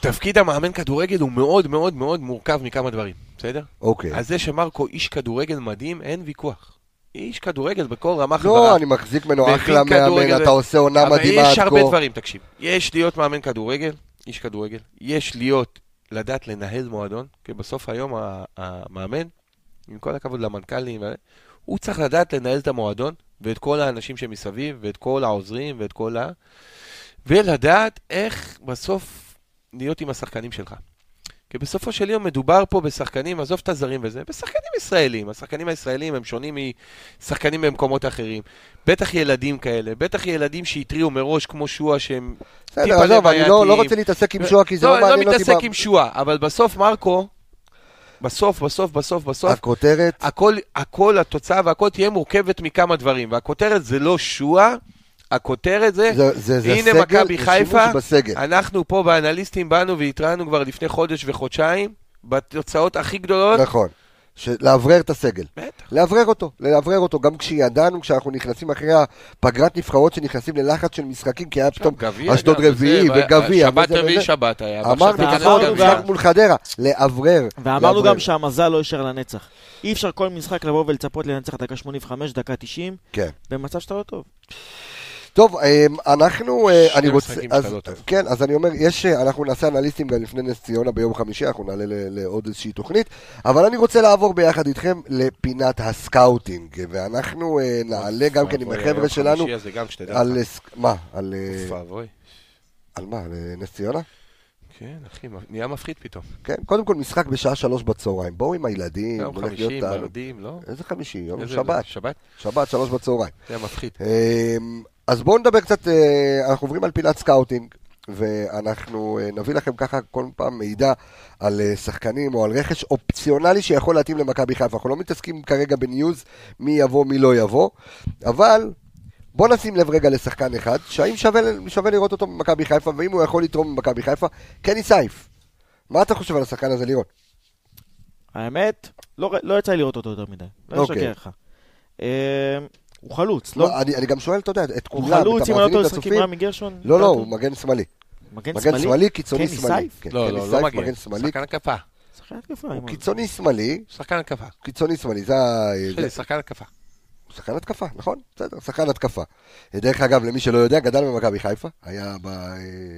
S2: תפקיד המאמן כדורגל הוא מאוד מאוד מאוד מורכב מכמה דברים, בסדר?
S1: אוקיי.
S2: אז זה שמרקו איש כדורגל מדהים, אין ויכוח. איש כדורגל בכל רמ"ח
S1: לא, אני מחזיק ממנו
S2: מבין
S1: אחלה
S2: כדורגל
S1: מאמן,
S2: ו-
S1: אתה עושה עונה
S2: אבל
S1: מדהימה עד
S2: יש
S1: כה.
S2: הרבה דברים, תקשיב. יש להיות מאמן כדורגל, איש כדורגל. יש להיות, לדעת לנהל מועדון, כי בסוף היום ה- המאמן, עם כל הכבוד למנכ"לים, הוא צריך לדעת לנהל את המועדון, ואת כל האנשים שמסביב, ואת כל העוזרים, ואת כל ה... ולדעת איך בסוף להיות עם השחקנים שלך. כי בסופו של יום מדובר פה בשחקנים, עזוב את הזרים וזה, בשחקנים ישראלים. השחקנים הישראלים הם שונים משחקנים במקומות אחרים. בטח ילדים כאלה, בטח ילדים שהתריעו מראש כמו שועה שהם... טיפה
S1: בסדר, עזוב, אני לא- לא
S2: לבעייתיים.
S1: רוצה להתעסק עם שואה כי זה לא
S2: לא, אני
S1: מעניין
S2: לא
S1: אותי.
S2: מתעסק
S1: ב-
S2: עם שועה, אבל בסוף מרקו, בסוף, בסוף, בסוף, בסוף,
S1: הכותרת,
S2: הכל, הכל, התוצאה והכל תהיה מורכבת מכמה דברים. והכותרת זה לא שועה, הכותרת זה...
S1: זה- זה זה
S2: הנה
S1: סגל, זה
S2: מכבי
S1: שימוש
S2: חיפה,
S1: בסגל.
S2: אנחנו פה באנליסטים באנו והתרענו כבר לפני חודש וחודשיים, בתוצאות הכי גדולות.
S1: נכון. ש- לאוורר את הסגל.
S2: בטח.
S1: לאוורר אותו, לאוורר אותו, גם כשידענו, כשאנחנו נכנסים אחרי הפגרת נבחרות, שנכנסים ללחץ של משחקים, כי היה פתאום
S2: גביע
S1: אשדוד
S2: גם, וזה,
S1: רביעי
S2: וה-
S1: וגביע.
S2: שבת
S1: וזה
S2: רביעי
S1: וזה.
S2: שבת היה. ועכשיו
S1: אמרתי,
S2: תיכנס
S1: נכון,
S2: לגביע.
S1: משחק מול חדרה, לאוורר.
S3: ואמרנו
S1: לאוורר. כן.
S3: גם שהמזל לא יישאר לנצח. אי אפשר כל משחק לבוא ולצפות לנצח דקה 85, דקה 90,
S1: כן.
S3: במצב שאתה לא טוב.
S1: טוב, אמ, אנחנו, אה,
S2: שני
S1: אני רוצה,
S2: משחקים
S1: אז,
S2: שאתה לא טוב.
S1: כן, אז אני אומר, יש, אה, אנחנו נעשה אנליסטים גם לפני נס ציונה ביום חמישי, אנחנו נעלה ל- לעוד איזושהי תוכנית, אבל אני רוצה לעבור ביחד איתכם לפינת הסקאוטינג, ואנחנו אה, נעלה גם כן עם
S2: אוי,
S1: החבר'ה
S2: היום
S1: שלנו,
S2: חמישי הזה גם שתדע
S1: על,
S2: לך.
S1: אה, סק- מה, על, אה,
S2: אוף, אבוי.
S1: על מה, על אה, נס ציונה?
S2: כן, אחי, נהיה מפחיד פתאום.
S1: כן, קודם כל משחק בשעה שלוש בצהריים, בואו עם הילדים,
S2: יום
S1: הולך
S2: חמישי,
S1: להיות תענוג.
S2: מרדים, לא?
S1: איזה חמישי? יום
S2: איזה-
S1: שבת,
S2: שבת?
S1: שבת שלוש בצהריים.
S2: זה היה מפחיד.
S1: אמ, אז בואו נדבר קצת, אה, אנחנו עוברים על פינת סקאוטינג, ואנחנו אה, נביא לכם ככה כל פעם מידע על אה, שחקנים או על רכש אופציונלי שיכול להתאים למכבי חיפה. אנחנו לא מתעסקים כרגע בניוז מי יבוא, מי לא יבוא, אבל בואו נשים לב רגע לשחקן אחד, שהאם שווה, שווה לראות אותו במכבי חיפה, ואם הוא יכול לתרום במכבי חיפה, קני סייף. מה אתה חושב על השחקן הזה, לירון?
S3: האמת, לא, ר- לא יצא לי לראות אותו יותר מדי. לא
S1: אוקיי.
S3: אשקר לך. אמ, הוא חלוץ, לא?
S1: לא, אני אני גם שואל, אתה יודע, את
S3: הוא
S1: כולם, את
S3: חלוץ, אם אני לא
S1: המאזינים, את
S3: טועה, משחק עם
S1: הצופים.
S3: רמי גרשון?
S1: לא, לא,
S3: טעו.
S1: הוא מגן שמאלי. מגן
S3: מגן כן, שמאלי?
S1: שמאלי, קיצוני
S3: קני
S1: שמאלי.
S3: סייף?
S1: כן,
S2: לא,
S1: קני
S2: לא,
S1: סייף,
S2: לא מגן.
S1: שמאלי.
S2: שחקן התקפה.
S3: שחקן התקפה, לא
S1: הוא
S3: אמרנו.
S1: קיצוני שמאלי,
S2: שחקן התקפה.
S1: קיצוני שמאלי, זה ה... זה-
S2: שלי, שחקן התקפה.
S1: כן. שחקן התקפה, נכון? בסדר, שחקן התקפה. אה, דרך אגב, למי שלא יודע, גדל במכבי חיפה, היה ב...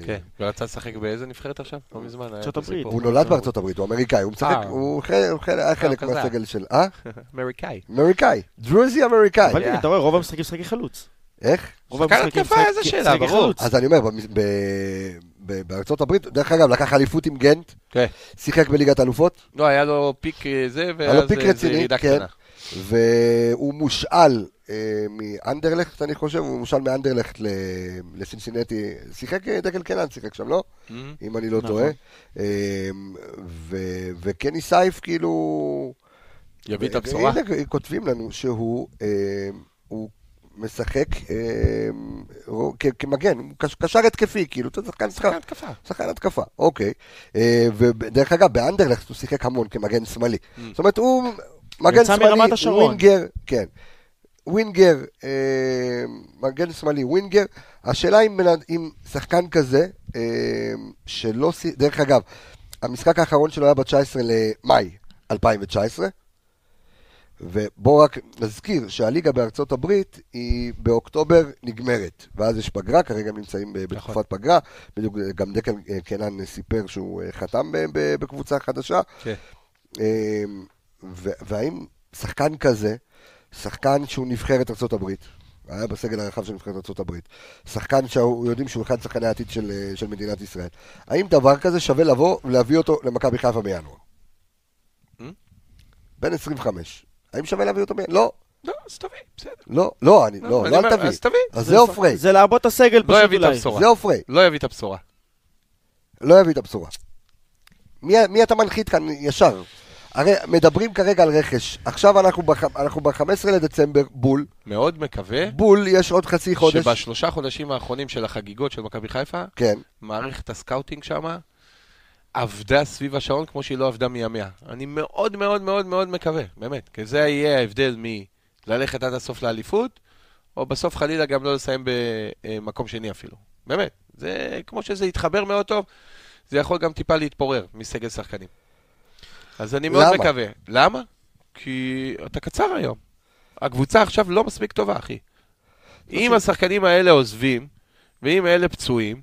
S2: כן. ורצה לשחק באיזה נבחרת עכשיו? לא מזמן. היה
S3: ארצות
S2: את הסיפור.
S3: הברית.
S1: הוא נולד בארצות הברית, הוא אמריקאי, הוא משחק,
S2: אה.
S1: הוא חלק- הוא חלק- היה חלק
S2: כזה.
S1: מהסגל של... אה?
S2: אמריקאי.
S1: אמריקאי, דרוזי אמריקאי.
S3: אבל
S2: Yeah.
S3: הנה, אתה רואה, רוב המשחקים משחקי חלוץ.
S1: איך?
S3: רוב
S2: שחקן
S3: המשחקים
S2: התקפה,
S3: משחק-
S2: איזה שאלה,
S3: משחקי
S2: ברור.
S3: חלוץ.
S1: אז אני אומר, במס- ב- ב- בארצות הברית, דרך אגב, לקח אליפות עם גנט,
S2: כן.
S1: שיחק בליגת אלופות,
S2: לא, היה לו פיק אה, זה,
S1: היה לו
S2: ואז
S1: פיק
S2: אה, זה
S1: רציני,
S2: ירידה
S1: כן,
S2: קטנה.
S1: והוא מושאל אה, מאנדרלכט, אני חושב, הוא מושאל מאנדרלכט ל- לסינסינטי, שיחק אה, דקל קנן, שיחק שם, לא?
S2: אמ,
S1: אם אני לא
S3: נכון.
S1: טועה. אה, ו- וקני סייף, כאילו...
S2: יביא את הבשורה.
S1: והנה, כותבים לנו שהוא אה, הוא משחק אה, רו- כ- כמגן, הוא קש- קשר התקפי, כאילו, אתה שחקן
S2: שחקן
S1: שחקן.
S2: התקפה.
S1: שחקן התקפה, אוקיי. אה, ודרך אגב, באנדרלכט הוא שיחק המון כמגן שמאלי. זאת אומרת, הוא מגן
S3: Mm. יצא
S1: שמאלי,
S3: מרמת השרון.
S1: ווינגר, כן. ווינגר, אה, מגן שמאלי, ווינגר. השאלה אם, בן אד- אם שחקן כזה, אה, שלא... שי- דרך אגב, המשחק האחרון שלו היה ב-19 למאי 2019, ובואו רק נזכיר שהליגה בארצות הברית היא באוקטובר נגמרת, ואז יש פגרה, כרגע הם נמצאים ב- בתקופת פגרה, בדיוק אה, גם דקל אה, קנן סיפר שהוא אה, חתם ב- ב- בקבוצה חדשה.
S2: כן.
S1: אה, ו- והאם שחקן כזה, שחקן שהוא נבחרת ארה"ב, היה בסגל הרחב של נבחרת ארה"ב, שחקן שיודעים שהוא אחד שחקני העתיד של, אה, של מדינת ישראל, האם דבר כזה שווה לבוא ולהביא אותו למכבי חיפה בינואר?
S2: Hmm?
S1: בן 25. האם שווה להביא אותו בינואר? לא,
S2: לא, אז תביא, בסדר.
S1: לא, לא, אני, לא,
S2: אני
S1: לא,
S2: אומר,
S1: אל
S2: אז
S1: תביא.
S2: תביא.
S1: אז זהו פריי,
S3: זה לעבוד את הסגל פשוט
S2: לא
S3: אולי.
S2: יביא את הבשורה.
S1: זהו פריי,
S2: לא יביא את הבשורה.
S1: לא יביא את הבשורה. מי, מי אתה מנחית כאן ישר?
S2: אה.
S1: הרי מדברים כרגע על רכש. עכשיו אנחנו בח- אנחנו ב-15 לדצמבר, בול.
S2: מאוד מקווה
S1: בול, יש עוד חצי חודש.
S2: שבשלושה חודשים האחרונים של החגיגות של מכבי חיפה,
S1: כן.
S2: מערכת הסקאוטינג שמה עבדה סביב השעון כמו שהיא לא עבדה מימיה. אני מאוד מאוד מאוד מאוד מקווה, באמת. כי זה יהיה ההבדל מללכת עד הסוף לאליפות, או בסוף חלילה גם לא לסיים במקום שני אפילו. באמת. זה, כמו שזה יתחבר מאוד טוב, זה יכול גם טיפה להתפורר מסגל שחקנים. אז אני מאוד
S1: למה?
S2: מקווה. למה? כי אתה קצר היום. הקבוצה עכשיו לא מספיק טובה, אחי. אם השחקנים האלה עוזבים, ואם אלה פצועים,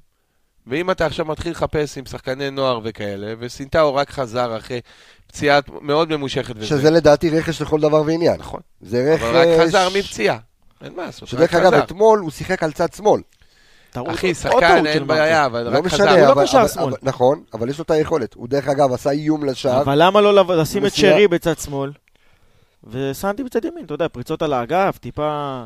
S2: ואם אתה עכשיו מתחיל לחפש עם שחקני נוער וכאלה, וסינטאו רק חזר אחרי פציעה מאוד ממושכת וזה.
S1: שזה לדעתי רכש לכל דבר ועניין.
S2: נכון.
S1: זה רכש...
S2: אבל רק חזר מפציעה. אין מה לעשות. רק
S1: שדרך אגב,
S2: חזר.
S1: אתמול הוא שיחק על צד שמאל.
S3: טעות-
S2: אחי,
S3: עוד
S2: שחקן,
S3: טעות
S2: אין
S3: של
S2: בעיה, אבל
S1: לא
S2: רק
S1: משנה,
S2: חזר.
S1: אבל...
S3: הוא לא קשר
S1: אבל-
S3: שמאל.
S1: אבל- נכון, אבל יש לו את היכולת. הוא דרך אגב עשה איום לשער.
S3: אבל למה לא לב- לשים את
S1: מסירה.
S3: שרי בצד שמאל? ושמתי בצד ימין, אתה יודע, פריצות על האגף, טיפה...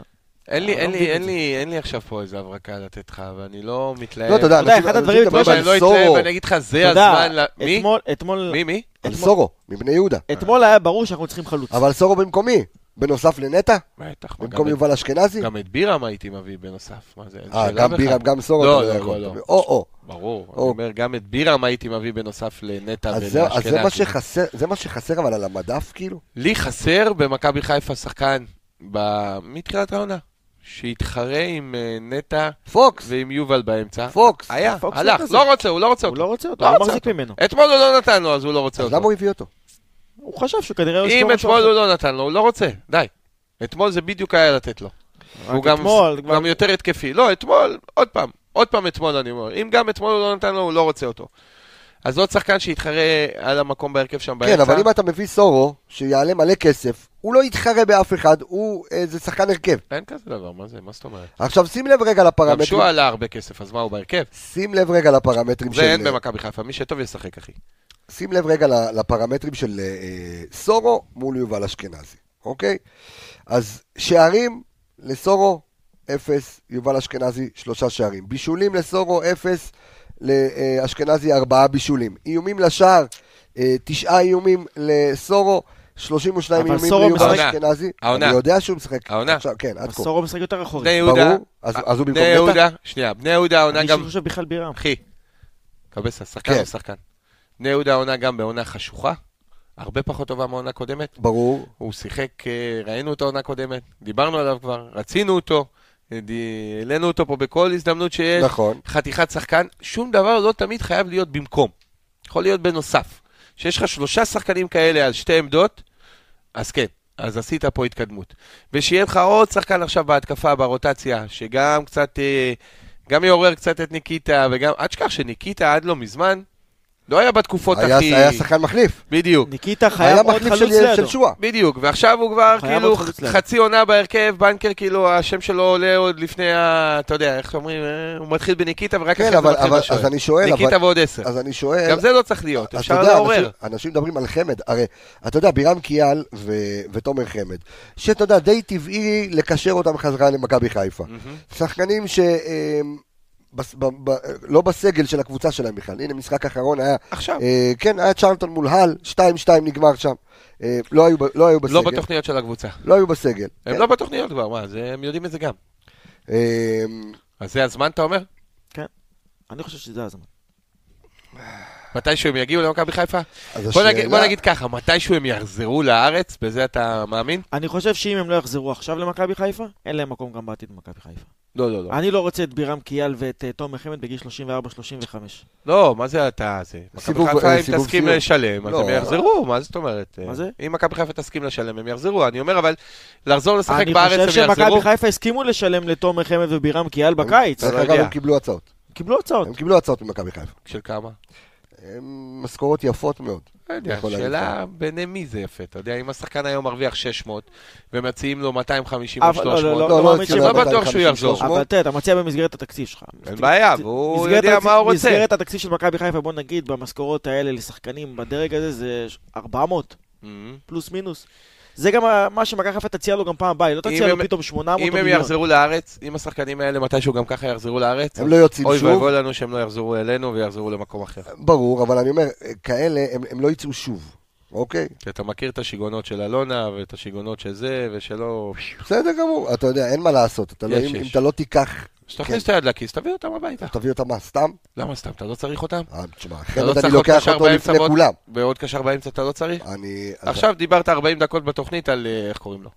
S2: אין לי-
S3: אני
S2: אין
S3: לא
S2: לי-
S3: מבין
S2: אין
S3: את
S2: לי- אין לי עכשיו פה איזה הברקה לתת לך, ואני לא מתלהב.
S1: לא, אתה יודע,
S3: אתה יודע,
S1: אנשים-
S3: אחד
S1: אנשים
S3: הדברים
S1: מדברים
S3: אתמול
S1: על
S2: שאני לא
S1: סורו,
S2: אתלהב, אני אגיד לך, זה
S3: אתה יודע,
S2: הזמן ל... מי?
S3: אתמול, אתמול,
S2: מי? מי?
S1: על
S3: אתמול-
S1: סורו, מבני יהודה.
S3: אתמול היה ברור שאנחנו צריכים חלוץ.
S1: אבל סורו במקומי, בנוסף לנטע,
S2: בטח. מה,
S1: במקום
S2: גם-
S1: יובל אשכנזי.
S2: גם את בירם הייתי מביא בנוסף. מה זה? אין
S1: אה,
S2: שאלה
S1: גם
S2: בכלל.
S1: בירם, גם סורו.
S2: לא,
S1: אתה
S2: לא,
S1: יכול.
S2: לא, לא.
S1: או-או.
S2: ברור. אני
S1: או.
S2: אומר, גם את בירם הייתי מביא בנוסף לנטע
S1: אז זה- אז זה מה
S2: ולאשכנזי.
S1: שחסר, זה מה שחסר אבל על המדף, כאילו?
S2: לי חסר במכבי חיפה שחקן ב... מתחילת העונה, שיתחרה עם אה, נטע
S1: פוקס,
S2: ועם יובל באמצע.
S1: פוקס.
S2: היה,
S3: פוקס
S2: הלך,
S3: לא כזה.
S2: לא רוצה, הוא לא רוצה
S3: הוא לא
S2: אותו.
S3: רוצה אותו,
S2: לא
S3: הוא
S2: רוצה
S3: מחזיק ממנו.
S2: אתמול הוא לא נתן לו, אז הוא לא רוצה
S1: אז למה
S2: אותו.
S1: הוא הביא אותו?
S3: הוא חשב שהוא כנראה... יש לו
S2: אם
S3: משהו
S2: אתמול
S3: אחר.
S2: הוא לא נתן לו, הוא לא רוצה, די. אתמול זה בדיוק היה לתת לו.
S3: רק
S2: הוא גם-
S3: אתמול,
S2: הוא גם יותר התקפי. לא, אתמול, עוד פעם, עוד פעם אתמול אני אומר. אם גם אתמול הוא לא נתן לו, הוא לא רוצה אותו. אז עוד שחקן שיתחרה על המקום בהרכב שם באמצע.
S1: כן, אבל אם אתה מביא סורו, שיעלה מלא כסף, הוא לא יתחרה באף אחד, הוא איזה שחקן הרכב.
S2: אין כזה דבר, מה זה? מה זאת אומרת?
S1: עכשיו שים לב רגע
S2: גם
S1: לפרמטרים.
S2: שועה עלה הרבה כסף, אז מה, הוא בהרכב?
S1: שים לב רגע לפרמטרים
S2: זה
S1: של...
S2: אין במכבי חיפה, מי שטוב ישחק, אחי.
S1: שים לב רגע ל- לפרמטרים של אה, אה, סורו מול יובל אשכנזי, אוקיי? אז שערים לסורו, אפס, יובל אשכנזי, שלושה שערים. בישולים לסורו, אפס, לאשכנזי, ארבעה בישולים. איומים לשער, אה, תשעה איומים לסורו, 32
S3: אבל
S1: איומים
S3: סורו
S1: ליובל
S2: משחק-
S1: אשכנזי.
S2: העונה.
S1: אני יודע שהוא משחק.
S2: העונה.
S1: עכשיו, כן, עד כה.
S3: סורו משחק יותר
S2: בני
S3: אחורי.
S2: יהודה,
S1: ברור. אז
S2: אה,
S1: אז הוא
S2: בני
S1: במקום נטע?
S2: יהודה, שנייה, בני יהודה העונה
S3: אני
S2: גם,
S3: חושב בכלל בירם.
S2: אחי, קבסה, שחקן
S1: כן.
S2: או שחקן. בני יהודה העונה גם בעונה חשוכה, הרבה פחות טובה מהעונה הקודמת.
S1: ברור.
S2: הוא שיחק, אה, ראינו את העונה הקודמת, דיברנו עליו כבר, רצינו אותו, אה, די- העלינו אותו פה בכל הזדמנות שיש.
S1: נכון.
S2: חתיכת שחקן, שום דבר לא תמיד חייב להיות במקום. יכול להיות בנוסף. כשיש לך שלושה שחקנים כאלה על שתי עמדות, אז כן, אז עשית פה התקדמות. ושיהיה לך עוד שחקן עכשיו בהתקפה, ברוטציה, שגם קצת, אה, גם יעורר קצת את ניקיטה, וגם, אל תשכח שניקיטה עד לא מזמן, לא היה בתקופות
S1: היה-
S2: הכי...
S1: היה שחקן מחליף.
S2: בדיוק.
S3: ניקיטה
S1: היה
S3: חייב עוד
S1: מחליף
S3: חלוץ
S1: של- של
S3: לידו.
S1: שואה.
S2: בדיוק, ועכשיו הוא כבר
S3: חייב
S2: כאילו
S3: עוד חלוץ ליד.
S2: חצי עונה בהרכב, בנקר כאילו השם שלו עולה עוד לפני ה... אתה יודע, איך שאומרים, אה, הוא מתחיל בניקיטה ורק
S1: כן,
S2: אחרי זה
S1: אבל,
S2: מתחיל
S1: אבל
S2: בשוער.
S1: אז אני שואל, אבל,
S2: ניקיטה ועוד עשר.
S1: אז אני שואל,
S2: גם זה לא צריך להיות,
S1: אתה
S2: אפשר
S1: יודע,
S2: לעורר.
S1: אנשים, אנשים מדברים על חמד, הרי, אתה יודע, בירם קיאל ו, ותומר חמד, שאתה יודע, די טבעי לקשר אותם חזרה למכבי חיפה.
S2: מהמם.
S1: שחקנים ש... אה, בס- ב- ב- לא בסגל של הקבוצה שלהם בכלל, הנה משחק אחרון היה,
S2: עכשיו,
S1: אה, כן, היה צ'רלטון מול הל, 2-2 נגמר שם, אה, לא היו ב- לא היו בסגל,
S2: לא בתוכניות של הקבוצה.
S1: לא היו בסגל,
S2: הם
S1: כן.
S2: לא בתוכניות כבר, מה, זה- הם יודעים את זה גם.
S1: אה,
S2: אז זה הזמן, אתה אומר?
S3: אני חושב שזה הזמן.
S2: מתישהו הם יגיעו למכבי חיפה?
S1: אז
S2: בוא
S1: השאלה-
S2: נגיד- בוא נגיד ככה, מתישהו הם יחזרו לארץ, בזה אתה מאמין?
S3: אני חושב שאם הם לא יחזרו עכשיו למכבי חיפה, אין להם מקום גם בעתיד במכבי חיפה.
S2: לא, לא, לא.
S1: אה?
S3: אני לא רוצה את בירם קיאל ואת אה, תומר חמד בגיל 34-35.
S2: לא, מה זה אתה... זה... מכבי
S1: סיבוב-
S2: חיפה,
S1: אה,
S2: אם
S1: סיבוב
S2: תסכים
S1: סיום.
S2: לשלם, אז
S1: לא.
S2: הם יחזרו, מה זאת אומרת? אה,
S3: מה זה?
S2: אם מכבי חיפה תסכים לשלם, הם יחזרו. אני אומר, אבל לחזור לשחק
S3: אני
S2: בארץ
S3: חושב
S2: הם יחזרו.
S3: שמכבי חיפה הסכימו לשלם לתומר חמד ובירם קיאל בקיץ.
S1: דרך
S2: לא
S1: אגב,
S2: יודע.
S1: הם קיבלו הצעות,
S3: קיבלו הצעות.
S1: הם קיבלו הצעות ממכבי חיפה,
S2: של כמה?
S1: הם משכורות יפות מאוד.
S2: לא יודע,
S1: יכול להגיד
S2: שאלה בעיני מי זה יפה, אתה יודע, אם השחקן היום מרוויח 600 ומציעים לו 250 או
S3: אבל לא, לא,
S2: 300,
S3: לא מאמין
S1: אצל
S3: שלא
S1: ה-
S2: בטוח שהוא
S1: 250,
S2: יחזור.
S1: 300.
S3: אבל תראה, אתה מציע במסגרת התקציב שלך.
S2: אין בעיה, והוא יודע מה הוא רוצה.
S3: מסגרת התקציב של מכבי חיפה, בוא נגיד, במשכורות האלה לשחקנים בדרג הזה זה 400,
S2: אמ,
S3: פלוס מינוס. זה גם ה- מה שמכבי חיפה תציע לו גם פעם הבאה, היא לא
S2: אם
S3: תציע לו
S2: הם-
S3: פתאום 800 או
S2: אם הם
S3: מיליון.
S2: יחזרו לארץ, אם השחקנים האלה מתישהו גם ככה יחזרו לארץ,
S1: הם לא יוצאים
S2: אוי
S1: שוב.
S2: ואבוי לנו שהם לא יחזרו אלינו ויחזרו למקום אחר.
S1: ברור, אבל אני אומר, כאלה, הם, הם לא יצאו שוב, אוקיי?
S2: כי אתה מכיר את השיגעונות של אלונה ואת השיגעונות של זה ושלא...
S1: בסדר גמור, אתה יודע, אין מה לעשות, אתה לא,
S2: יש,
S1: אם,
S2: יש.
S1: אם אתה לא תיקח, כן,
S2: שתכניס את היד לכיס, תביא אותם הביתה.
S1: תביא אותם מה, סתם?
S2: למה סתם? אתה לא צריך אותם?
S1: אה, תשמע,
S2: אתה לא
S1: חמד, אני
S2: צריך עוד
S1: לוקח
S2: קשר
S1: אותו
S2: באמצע
S1: לפני
S2: ועוד-
S1: כולם.
S2: ועוד קשר באמצע אתה לא צריך?
S1: אני... אז-
S2: עכשיו דיברת 40 דקות בתוכנית על, אה, איך קוראים לו?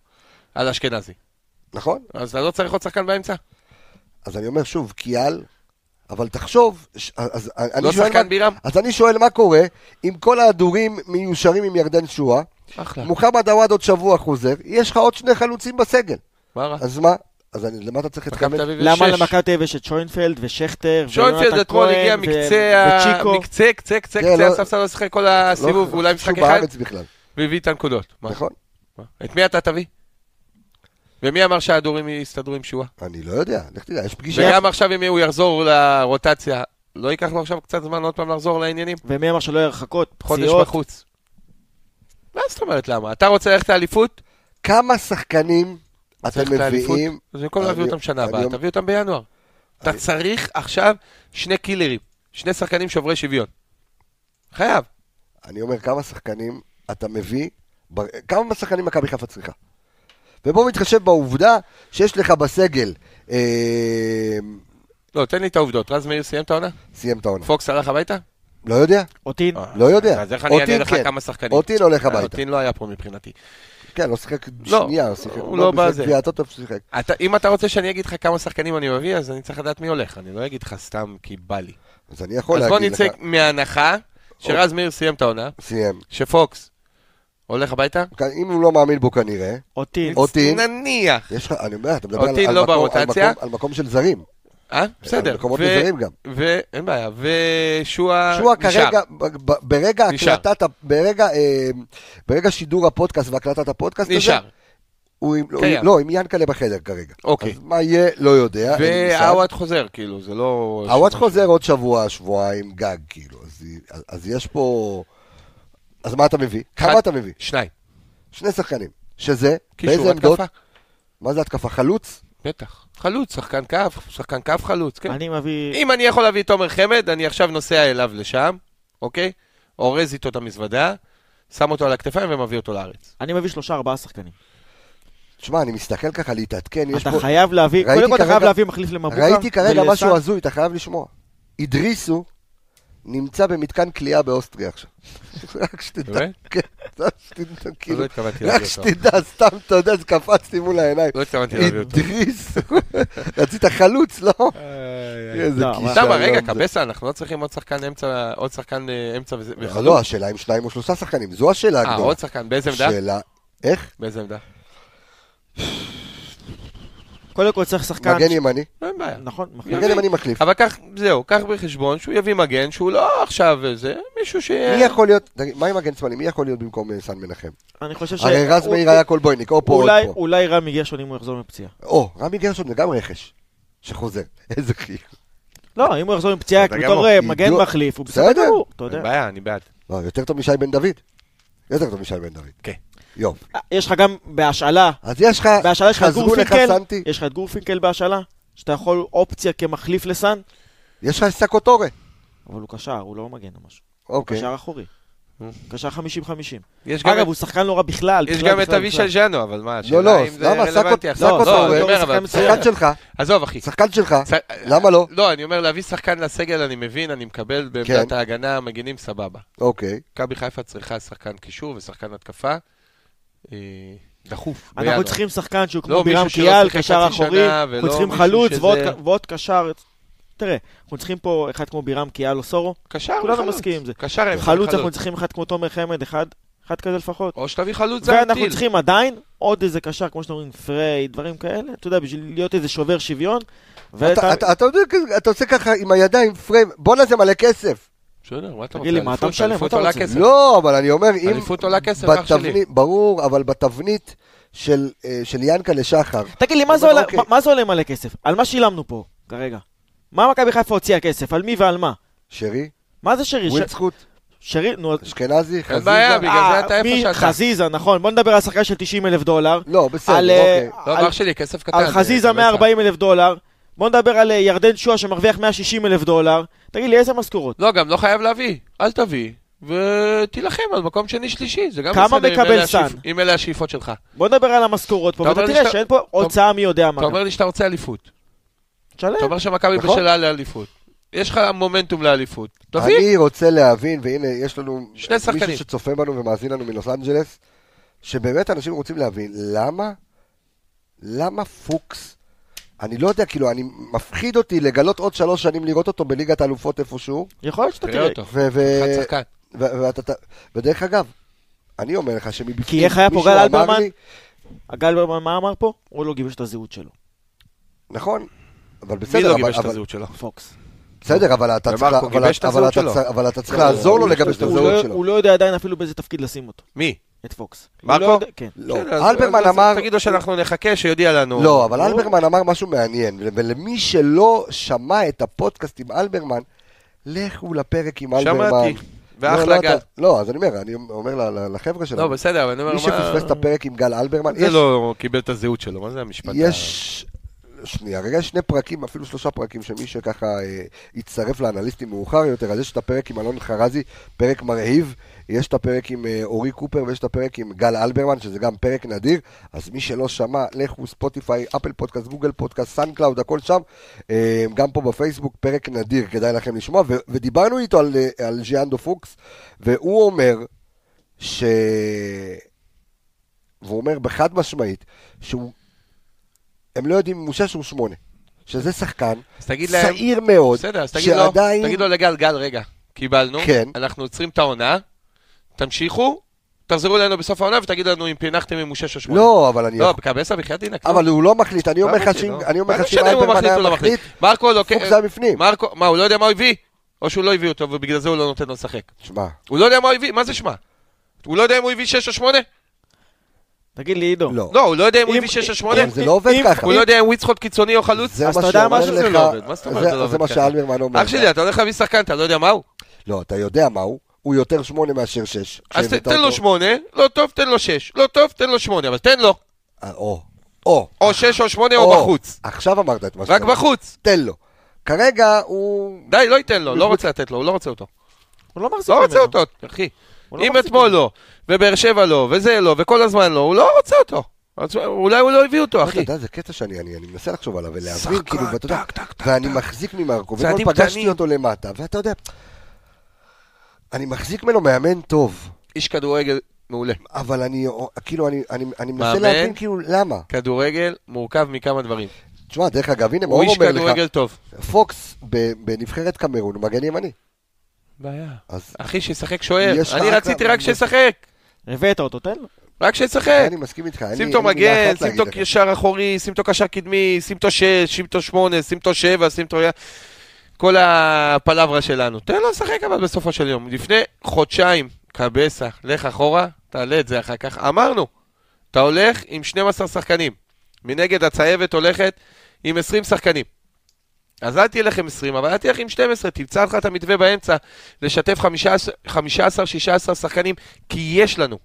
S2: על אשכנזי.
S1: נכון?
S2: אז אתה לא צריך עוד שחקן באמצע?
S1: אז אני אומר שוב, קיאל, אבל תחשוב, ש- אז, אז,
S2: לא
S1: אני שואל
S2: שחקן
S1: מה,
S2: בירם?
S1: אז אני שואל מה קורה אם כל ההדורים מיושרים עם ירדן שואה,
S2: אחלה.
S1: מוחמד עוואד עוד שבוע חוזר, יש לך עוד שני חלוצים בסגל.
S2: מה רע?
S1: אז מה? אז אני, למה אתה צריך את
S2: מכבי
S1: חמד?
S2: תל אביב יש
S3: למה
S2: שש.
S3: למכבי תל אביב יש את שוינפלד ושכטר
S2: שוינפלד
S3: ויונתן
S2: אתמול
S3: כהן
S2: הגיע
S3: ו-
S2: מקצה, ה-
S3: וצ'יקו?
S2: מקצה, קצה, קצה,
S1: זה
S2: קצה,
S1: לא-
S2: הספסל לא שיחק כל הסיבוב,
S1: לא-
S2: אולי משחק
S1: שהוא
S2: אחד,
S1: בארץ בכלל,
S2: והביא את הנקודות. מה?
S1: נכון?
S2: מה? את מי אתה תביא? ומי אמר שההדורים יסתדרו עם שועה?
S1: אני לא יודע, לך תדע, יש פגישה.
S2: וגם עכשיו אם הוא יחזור לרוטציה, לא ייקח לו עכשיו קצת זמן עוד פעם לחזור לעניינים?
S3: ומי אמר שלא יהיו הרחקות?
S2: חודש
S3: פציעות?
S2: בחוץ. מה זאת אומרת למה? אתה רוצה ללכת לאליפות?
S1: כמה שחקנים אתם
S2: צריך את האליפות.
S1: מביאים,
S2: אז במקום
S1: אני-
S2: להביא אותם שנה
S1: אני
S2: הבאה,
S1: אומר-
S2: תביא אותם בינואר. אתה צריך עכשיו שני קילרים, שני שחקנים שוברי שוויון. חייב.
S1: אני אומר כמה שחקנים אתה מביא, בר- כמה שחקנים מכבי חיפה צריכה. ובואו נתחשב בעובדה שיש לך בסגל, אה,
S2: לא, תן לי את העובדות. רז מאיר סיים את העונה?
S1: סיים את העונה.
S2: פוקס הלך הביתה?
S1: לא יודע,
S3: אותין?
S1: לא יודע.
S2: אז איך אני אענה
S1: אותין
S2: לך
S1: כן.
S2: כמה שחקנים?
S1: אותין הולך
S2: אה,
S1: הביתה.
S2: אותין לא היה פה מבחינתי.
S1: כן, לא שיחק
S2: לא,
S1: שנייה, הוא שיחק.
S2: הוא לא
S1: בשביל
S2: בזה.
S1: גביע הטוטו שיחק.
S2: אתה- אם אתה רוצה שאני אגיד לך כמה שחקנים אני מביא, אז אני צריך לדעת מי הולך. אני לא אגיד לך סתם כי בא לי.
S1: אז אני יכול
S2: אז בוא
S1: להגיד לך,
S2: נצא מההנחה שרז מאיר סיים את העונה,
S1: סיים.
S2: שפוקס הולך הביתה.
S1: כאן, אם הוא לא מאמין בו כנראה,
S3: אותין.
S1: אותין.
S2: נניח.
S1: יש לך, אני אומר, אתה מדבר על,
S2: אותין
S1: על,
S2: לא
S1: מקום, על,
S2: ברוטציה.
S1: מקום, על מקום של זרים.
S2: אה? בסדר.
S1: על מקומות
S2: ו-
S1: של זרים גם.
S2: ו... אין בעיה. ושועה
S1: שועה
S2: נשאר.
S1: כרגע, ב- ב- ברגע
S2: נשאר.
S1: הקלטת, ה- ברגע, אה, ברגע שידור הפודקאסט והקלטת הפודקאסט הזה,
S2: נשאר.
S1: הוא עם- לא,
S2: קיים.
S1: לא, עם ינקלה בחדר כרגע.
S2: אוקיי.
S1: אז מה יהיה, לא יודע. אין לי מושג.
S2: והעווד חוזר, כאילו, זה לא...
S1: עווד חוזר עוד שבוע, שבועיים גג, כאילו. אז, אז, אז יש פה... אז מה אתה מביא? כמה אתה מביא?
S2: שניים.
S1: שני שחקנים. שזה?
S2: קישור
S1: באיזה עמדות?
S2: התקפה.
S1: מה זה התקפה? חלוץ?
S2: בטח. חלוץ, שחקן כף, שחקן כף חלוץ,
S1: אוקיי.
S2: כן.
S3: אני מביא...
S2: אם אני יכול להביא את תומר חמד, אני עכשיו נוסע אליו לשם, אוקיי? אורז איתו את המזוודה, שם אותו על הכתפיים ומביא אותו לארץ.
S3: אני מביא שלושה ארבעה שחקנים.
S1: תשמע, אני מסתכל ככה להתעדכן, יש
S3: אתה
S1: פה...
S3: חייב להביא,
S1: ראיתי
S3: קודם כל אתה
S1: כרגע-
S3: חייב להביא מחליף למבוקה.
S1: ראיתי כרגע
S3: ולסאן.
S1: משהו הזוי, אתה חייב לשמוע. הדריסו נמצא במתקן כליאה באוסטריה עכשיו. רק שתדע.
S2: באמת?
S1: כן, רק שתדע, כאילו.
S2: לא התכוונתי
S1: רק
S2: להביא אותו.
S1: שתדע, סתם, אתה יודע, זה קפץ לי מול העיניים.
S2: לא התכוונתי להביא אותו.
S1: הדריס. רצית חלוץ, לא? איזה
S3: לא, אבל-
S1: כישלון.
S2: סתם, רגע,
S1: זה.
S2: קבסה, אנחנו לא צריכים עוד שחקן אמצע, עוד שחקן אה, אמצע וזה-
S1: אבל
S2: וחלוץ.
S1: לא, השאלה אם שניים או שלושה שחקנים, זו השאלה
S2: אה,
S1: הגדולה.
S2: עוד שחקן, באיזה עמדה?
S1: שאלה, איך?
S2: באיזה עמדה?
S3: קודם כל צריך שחקן...
S1: מגן ימני?
S2: אין בעיה.
S3: נכון, מחליף.
S1: מגן ימני מחליף.
S2: אבל קח, זהו, קח בחשבון שהוא יביא מגן שהוא לא עכשיו זה, מישהו ש...
S1: מי יכול להיות, תגיד, מה עם מגן שמאלי? מי יכול להיות במקום אה, סן מנחם?
S3: אני חושב ש...
S1: הרי רז
S3: הוא-
S1: מאיר היה קולבויניק, או פה או
S3: אולי-
S1: פה.
S3: אולי רמי גרשון אם הוא יחזור מפציעה.
S1: או, רמי גרשון זה גם רכש, שחוזר. איזה חי.
S3: לא, אם הוא יחזור מפציעה,
S2: בסדר
S3: בתור
S2: גמור.
S3: אה, מגן
S1: עידו-
S3: מחליף, הוא בסדר
S1: בסדר.
S3: גמור, אתה
S2: אין
S3: יודע.
S2: בעיה, אני בעד.
S1: לא, יותר טוב משי בן דוד. יותר טוב משי בן דוד.
S2: כן.
S1: יופי.
S3: אה, יש לך גם בהשאלה,
S1: אז יש לך,
S3: בהשאלה יש לך את
S1: חזרו לך
S3: גורפינקל,
S1: סנטי,
S3: יש לך את גורפינקל בהשאלה, שאתה יכול אופציה כמחליף לסאן,
S1: יש לך את סקוטורה.
S3: אבל הוא קשר, הוא לא מגן או משהו.
S1: אוקיי. אה.
S3: קשר אחורי.
S2: נו.
S3: קשר 50-50.
S2: יש גם
S3: אגב,
S2: את-
S3: הוא שחקן לא רע בכלל.
S2: יש
S3: בכלל,
S2: גם את
S3: בכלל,
S2: אבישל
S3: בכלל.
S2: ז'אנו, אבל מה,
S1: לא,
S2: השאלה אם זה
S1: למה?
S2: רלוונטי
S1: סאקו-
S2: עכשיו.
S1: סאקו
S2: לא, אני
S1: סאקו
S2: אומר,
S3: שחקן
S2: אבל...
S3: מצוין.
S1: שחקן שלך,
S2: עזוב, אחי.
S1: שחקן שלך,
S2: ס-
S1: למה לא?
S2: לא, אני אומר, להביא שחקן לסגל, אני מבין, אני מקבל
S3: כן.
S2: בעמדת ההגנה, המגינים, סבבה.
S1: אוקיי.
S2: מכבי חיפה צריכה שחקן קישור ושחקן התקפה. אה, דחוף. בינואר.
S3: אנחנו צריכים שחקן שהוא
S2: לא,
S3: כמו בירם
S2: מישהו שלא
S3: קיאל,
S2: שיחק
S3: קשר
S2: חצי
S3: אחורי,
S2: שנה,
S3: אנחנו
S2: ולא
S3: צריכים
S2: מישהו
S3: חלוץ
S2: שזה-
S3: ועוד ק- ועוד קשר. תראה, אנחנו צריכים פה אחד כמו בירם קיאל או
S2: אה,
S3: סורו,
S2: קשר
S3: כולנו
S2: וחלוץ.
S3: מסכימים עם זה.
S2: קשר עם
S3: חלוץ אנחנו
S2: אה, חלוץ.
S3: צריכים אחד כמו תומר חמד, אחד אחד כזה לפחות.
S2: או שתביא חלוץ זה
S3: ואנחנו
S2: הטיל.
S3: צריכים עדיין עוד איזה קשר, כמו שאתם אומרים, פריי, דברים כאלה, אתה יודע, בשביל להיות איזה שובר שוויון.
S1: אתה-
S3: ואתה,
S1: אתה- אתה יודע, כזה, אתה עושה ככה עם הידיים פריים, בואנה זה מלא כסף.
S2: בסדר, מה אתה רוצה?
S3: תגיד לי, מה אתה
S2: אליפות,
S3: משלם? מה
S2: אליפות
S3: אתה
S2: עולה
S3: רוצה?
S2: כסף.
S1: לא, אבל אני אומר, אם...
S2: אליפות עולה כסף, אח שלי.
S1: בתבנית- ברור, אבל בתבנית של, אה, של ינקלה שחר,
S3: תגיד לי, מה זה
S1: אבל
S3: עולה-
S1: אוקיי.
S3: מה- מה זה עולה מלא כסף? על מה שילמנו פה, כרגע? מה מכבי חיפה הוציאה כסף? על מי ועל מה?
S1: שרי,
S3: מה זה שרי? ש-
S1: ווילצחוט,
S3: שרי, נו, אז-
S1: אשכנזי,
S2: אין
S1: חזיזה.
S2: בעיה, בגלל
S3: אה,
S2: זה אתה איפה
S3: מי-
S2: שאתה.
S3: חזיזה, נכון. בוא נדבר על שחקן של 90 אלף דולר.
S1: לא, בסדר,
S3: על,
S1: אוקיי.
S3: אה,
S2: לא,
S3: על-
S2: אח שלי, כסף קטן.
S3: על חזיזה
S2: אה,
S3: 140 אלף דולר. בוא נדבר על אה, ירדן שואה שמרוויח 160 אלף דולר. תגיד לי, איזה משכורות?
S2: לא, גם לא חייב להביא. אל תביא, ותילחם על מקום שני-שלישי. זה גם
S3: כמה
S2: בסדר, אם
S3: מקבל
S2: אלה השאיפ-
S3: סאן?
S2: אם אלה השאיפות שלך.
S3: בוא נדבר על המשכורות פה,
S2: אתה
S3: ואתה
S2: אומר לי
S3: תראה
S2: שאתה-
S3: שאין פה הוצאה מי יודע מה.
S2: אתה אומר לי שאתה רוצה אליפות.
S3: תשלם.
S2: אתה אומר שמכבי
S1: נכון.
S2: בשלה לאליפות. יש לך מומנטום לאליפות. תביא.
S1: אני רוצה להבין, והנה, יש לנו
S2: שני שחקנים.
S1: מישהו שצופה בנו ומאזין לנו מלוס אנג'לס, שבאמת אנשים רוצים להבין, למה, למה פוקס, אני לא יודע, כאילו, אני מפחיד אותי לגלות עוד שלוש שנים לראות אותו בליגת האלופות איפשהו,
S3: יכול להיות שאתה
S2: תראה
S3: תראה.
S2: אותו.
S1: ו- ו-
S2: נכון, אחד שחקן.
S1: ו- ואתה, אתה- ודרך אגב, אני אומר לך שמבפנים,
S3: כי איך היה פה
S1: מישהו
S3: גל
S1: אמר
S3: אלברמן?
S1: לי-
S3: גלברמן, מה אמר פה? הוא לא גיבש את הזהות שלו.
S1: נכון, אבל
S2: מי
S1: בסדר,
S2: לא
S1: אבל-
S2: גיבש את
S1: אבל-
S2: הזהות שלו?
S3: פוקס.
S1: בסדר, אבל אתה
S2: ומרקו
S1: צריך לה-
S2: גיבש
S1: אבל-
S2: את הזהות
S1: אבל אתה
S2: שלו.
S1: צריך- אבל אתה צריך
S2: לא,
S1: לעזור לו
S2: הוא גיבש
S1: לגבש את
S2: את הזהות
S1: הזהות שלו.
S3: הוא לא יודע עדיין אפילו באיזה תפקיד לשים אותו.
S2: מי?
S3: את פוקס. הוא
S2: מרקו?
S3: לא יודע- כן.
S1: לא,
S2: בסדר, אז-
S1: אלברמן
S2: אז
S1: אמר...
S2: תגידו שאנחנו נחכה, שיודיע לנו.
S1: לא, אבל
S3: לא.
S1: אלברמן אמר משהו מעניין, ול- ולמי שלא שמע את הפודקאסט עם אלברמן, לכו לפרק עם אלברמן.
S2: שמעתי.
S1: לא,
S2: ואחלה
S1: לא,
S2: גל.
S1: אתה- לא, אז אני אומר, אני אומר ל- ל- לחבר'ה
S2: לא,
S1: שלנו,
S2: בסדר, אבל אני אומר,
S1: מי שפספס את
S2: מה...
S1: הפרק עם גל אלברמן,
S2: זה
S1: יש-
S2: לא קיבל את הזהות שלו, מה זה המשפט? ה-
S1: יש... שנייה, רגע, יש שני פרקים, אפילו שלושה פרקים, שמי שככה אה, יצטרף לאנליסטים מאוחר יותר, אז יש את הפרק עם אלון חרזי, פרק מרהיב, יש את הפרק עם אה, אורי קופר ויש את הפרק עם גל אלברמן, שזה גם פרק נדיר, אז מי שלא שמע, לכו ספוטיפיי, אפל פודקאסט, גוגל פודקאסט, סאן קלאוד, הכל שם, אה, גם פה בפייסבוק, פרק נדיר, כדאי לכם לשמוע, ו- ודיברנו איתו על, אה, על ז'יאנדו פוקס, והוא אומר ש... והוא אומר בחד משמעית, שהוא הם לא יודעים אם הוא שש או שמונה. שזה שחקן
S2: אז תגיד להם...
S1: צעיר מאוד,
S2: בסדר, אז תגיד לו,
S1: שעדיין...
S2: תגיד לו לגל, גל, רגע, קיבלנו,
S1: כן.
S2: אנחנו עוצרים את העונה, תמשיכו, תחזרו אלינו בסוף העונה ותגיד לנו אם פענחתם אם הוא 6 או 8.
S1: לא, אבל אני...
S2: לא, בקבסה בחייאת דינק. לא.
S1: אבל הוא לא מחליט, אני
S2: מה
S1: אומר
S2: אמרתי,
S1: לך שאם...
S2: לא?
S1: אני אומר
S2: מה
S1: לך
S2: זה
S1: שאם
S2: משנה אם הוא
S1: אלברמן
S2: מחליט
S1: היה
S2: או לא
S1: מחליט,
S2: מחליט? מרקו לא...
S1: פוקס היה בפנים.
S2: מרקו, מה, הוא לא יודע מה הוא הביא? או שהוא לא הביא אותו ובגלל זה הוא לא נותן לו לשחק.
S1: שמע,
S2: הוא לא יודע מה הוא הביא, מה זה שמע? הוא לא יודע אם הוא הביא 6 או 8?
S3: תגיד לי, עידו.
S1: לא.
S2: לא, הוא לא יודע אם הוא
S3: אם-
S2: הביא 6
S1: אבל
S2: או 8?
S1: זה לא עובד
S3: אם-
S1: ככה.
S2: הוא לא יודע אם הוא יצחוט קיצוני או חלוץ?
S1: זה
S3: אז
S1: מה
S3: אתה יודע
S1: שאומר
S3: משהו
S2: שזה
S1: לך-
S2: לא עובד. מה זאת אומרת
S1: זה-
S2: זה לא
S1: זה
S2: עובד
S1: מה
S2: ככה?
S1: שאלברמן אומר.
S2: אח שלי, אתה הולך להביא שחקן, אתה לא יודע מה הוא?
S1: לא, אתה יודע מה הוא. הוא יותר שמונה מאשר שש.
S2: אז ת-
S1: כשהבאת
S2: תן לו
S1: אותו.
S2: 8, לא טוב, תן לו 6. לא טוב, תן לו 8, אבל תן לו.
S1: אה, או. או.
S2: או 6 או 8 או בחוץ.
S1: עכשיו אמרת את מה
S2: רק בחוץ.
S1: תן לו. כרגע הוא...
S2: די, לא ייתן לו, לא רוצה לתת לו, הוא לא רוצה אותו.
S3: הוא לא מחזיק
S2: לא
S3: ממנו.
S2: רוצה אותו, אחי.
S3: הוא לא
S2: אם
S3: מחזיק
S2: אתמול
S3: ממנו.
S2: לא, ובאר שבע לא, וזה לא, וכל הזמן לא, הוא לא רוצה אותו. אז אולי הוא לא הביא אותו,
S1: אתה
S2: אחי.
S1: יודע, זה קטע שאני אני, אני מנסה לחשוב עליו ולהבין,
S2: שחקן,
S1: כאילו, ואתה יודע,
S2: טק, טק, טק,
S1: ואני
S2: טק.
S1: מחזיק ממרקו, ואתמול
S2: צעדים
S1: פגשתי
S2: קטנים.
S1: אותו למטה, ואתה יודע, אני מחזיק ממנו מאמן טוב,
S2: איש כדורגל מעולה.
S1: אבל אני, כאילו, אני, אני, אני מנסה
S2: מאמן?
S1: להבין כאילו למה.
S2: כדורגל מורכב מכמה דברים.
S1: תשמע, דרך אגב, הנה,
S2: הוא
S1: מאור
S2: איש
S1: לא אומר לך,
S2: כדורגל טוב.
S1: פוקס ב- בנבחרת קמרון, מגן ימני.
S2: בעיה.
S1: אז
S2: אחי, שישחק שוער.
S1: יש לך
S2: אני
S1: רק-
S2: רציתי רק שישחק.
S3: הבאת אותו, תן לו.
S2: רק שישחק.
S1: אני מסכים איתך, אין לי-
S2: שים
S1: אין
S2: אותו
S1: לי מילה
S2: כן. מגן,
S1: אחת
S2: שים
S1: להגיד
S2: אותו
S1: לך.
S2: קשר אחורי, שים אותו קשר קדמי, שים אותו שש, שים אותו שמונה, שים אותו שבע, שים אותו... כל הפלברה שלנו. תן לו לשחק אבל בסופו של יום. לפני חודשיים, קבסה, לך אחורה, תעלה את זה אחר כך. אמרנו, אתה הולך עם 12 שחקנים. מנגד הצהבת הולכת עם 20 שחקנים. אז אל תלך עם 20, אבל אל תלך עם 12, תמצא לך את המתווה באמצע, לשתף 15-16 שחקנים, כי יש לנו.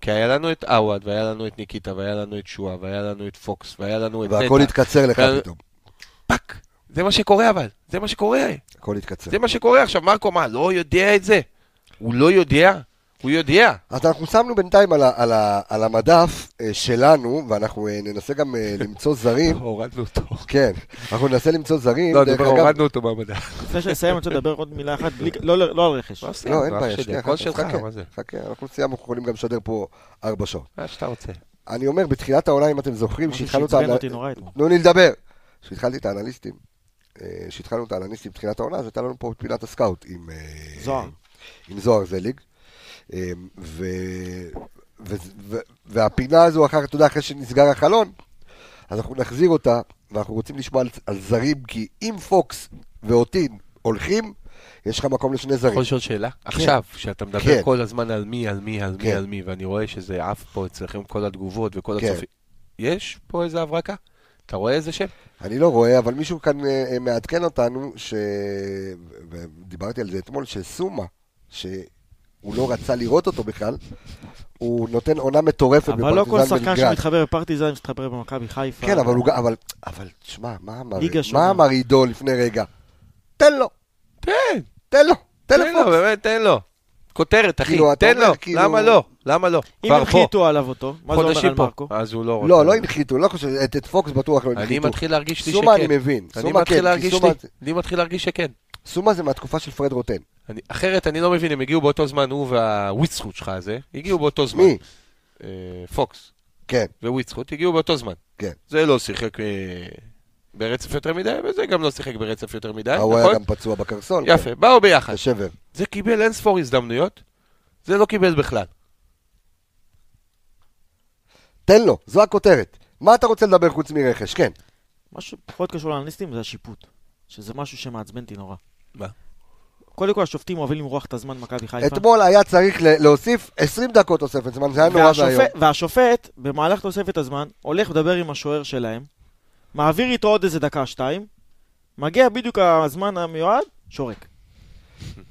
S2: כי היה לנו את עווד, והיה לנו את ניקיטה, והיה לנו את שואה, והיה לנו את פוקס, והיה לנו את
S1: והכל התקצר לך
S2: אבל-
S1: פתאום.
S2: פאק. זה מה שקורה אבל, זה מה שקורה.
S1: הכל התקצר.
S2: זה מה שקורה. עכשיו, מרקו, מה, לא יודע את זה? הוא לא יודע? הוא יודע.
S1: אז אנחנו שמנו בינתיים על, ה, על, ה, על המדף אה, שלנו, ואנחנו אה, ננסה גם אה, למצוא זרים.
S2: הורדנו אותו.
S1: כן, אנחנו ננסה למצוא זרים.
S2: לא,
S1: דרך
S2: דבר,
S1: אגב-
S2: הורדנו אותו מהמדע.
S3: לפני שנסיים, אני רוצה לדבר עוד מילה אחת, בלי- לא ל- לא על רכש.
S1: לא, אין בעיה, שנייה,
S2: הכל
S1: אחת,
S2: שלך,
S1: חכה,
S2: מה זה?
S1: חכה, אנחנו סיימנו, אנחנו יכולים גם לשדר פה ארבע שעות.
S2: מה שאתה רוצה.
S1: אני אומר, בתחילת העונה, אם אתם זוכרים,
S3: משהו
S1: שהתחלנו את
S3: שעצבן
S1: האנ-
S3: אותי נורא אתמול.
S1: תנו לי לדבר. כשהתחלתי את האנליסטים, אה, כשהתחלנו את האנליסטים בתחילת העונה, אז הייתה לנו פה את פינת הסקאוט עם... אה,
S3: זוהר.
S1: עם זוהר זליג. אה, ו... ו... ו... והפינה הזו, אחר כך, אתה יודע, אחרי שנסגר החלון, אז אנחנו נחזיר אותה, ואנחנו רוצים לשמוע על, על זרים, כי אם פוקס ואוטין הולכים, יש לך מקום לשני זרים.
S2: יכול לשאול שאלה? עכשיו, כשאתה
S1: כן.
S2: מדבר כל הזמן על מי, על מי, על מי,
S1: כן.
S2: על מי, ואני רואה שזה עף פה אצלכם כל התגובות וכל
S1: כן.
S2: הצופים. יש פה איזה הברקה? אתה רואה איזה שם?
S1: אני לא רואה, אבל מישהו כאן אה, אה, מעדכן אותנו, ש... דיברתי על זה אתמול, שסומה, שהוא לא רצה לראות אותו בכלל, הוא נותן עונה מטורפת
S3: אבל לא כל
S1: בפרטיזן
S3: שחקן
S1: בלגרד.
S3: שמתחבר בפרטיזן מתחבר במכבי חיפה.
S1: כן, אבל הוא גם... אבל, אבל תשמע, מה אמר,
S3: ליגה
S1: מה
S3: שונה.
S1: אמר עידו לפני רגע? תן לו, כן,
S2: תן,
S1: תן לו, תן
S2: תן לו,
S1: לו.
S2: באמת, תן לו. כותרת, אחי,
S1: כאילו, אתה
S2: תן
S1: אומר,
S2: לו.
S1: כאילו-
S2: למה לא? למה לא? כבר
S3: אם
S2: פה,
S3: הנחיתו עליו אותו, מה זה אומר
S2: חודשים
S3: על
S2: פה.
S3: מרקו?
S2: אז הוא לא רוצה.
S1: לא, לא הנחיתו, לא חושב, את, את פוקס בטוח לא
S2: אני
S1: הנחיתו.
S2: מתחיל להרגיש לי
S1: סומה אני
S2: שכן.
S1: מבין,
S2: אני
S1: סומה כן,
S2: מתחיל
S1: כי
S2: להרגיש
S1: סומה-
S2: לי- אני מתחיל להרגיש שכן.
S1: סומה זה מהתקופה של פרד רוטן.
S2: אני- אחרת אני לא מבין, הם הגיעו באותו זמן, הוא והוויצחוט שלך הזה, הגיעו באותו זמן.
S1: מי?
S2: אה, פוקס.
S1: כן,
S2: וויצחוט הגיעו באותו זמן.
S1: כן.
S2: זה לא שיחק אה, ברצף יותר מדי, וזה גם לא שיחק ברצף יותר מדי,
S1: ההוא היה
S2: נכון?
S1: גם פצוע בקרסול. כן,
S2: יפה, באו ביחד.
S1: בשבר.
S2: זה קיבל אין ספור הזדמנויות, זה לא קיבל בכלל.
S1: תן לו, זו הכותרת. מה אתה רוצה לדבר חוץ מרכש? כן.
S3: משהו פחות קשור לאנליסטים זה השיפוט. שזה משהו שמעצבן אותי נורא.
S2: מה?
S3: קודם כל השופטים אוהבים למרוח את הזמן מכבי חיפה.
S1: אתמול היה צריך ל- להוסיף 20 דקות תוספת זמן, זה היה נורא
S3: והשופט-
S1: ואיום.
S3: והשופט, במהלך תוספת הזמן, הולך לדבר עם השוער שלהם, מעביר איתו עוד איזה דקה-שתיים, מגיע בדיוק הזמן המיועד, שורק.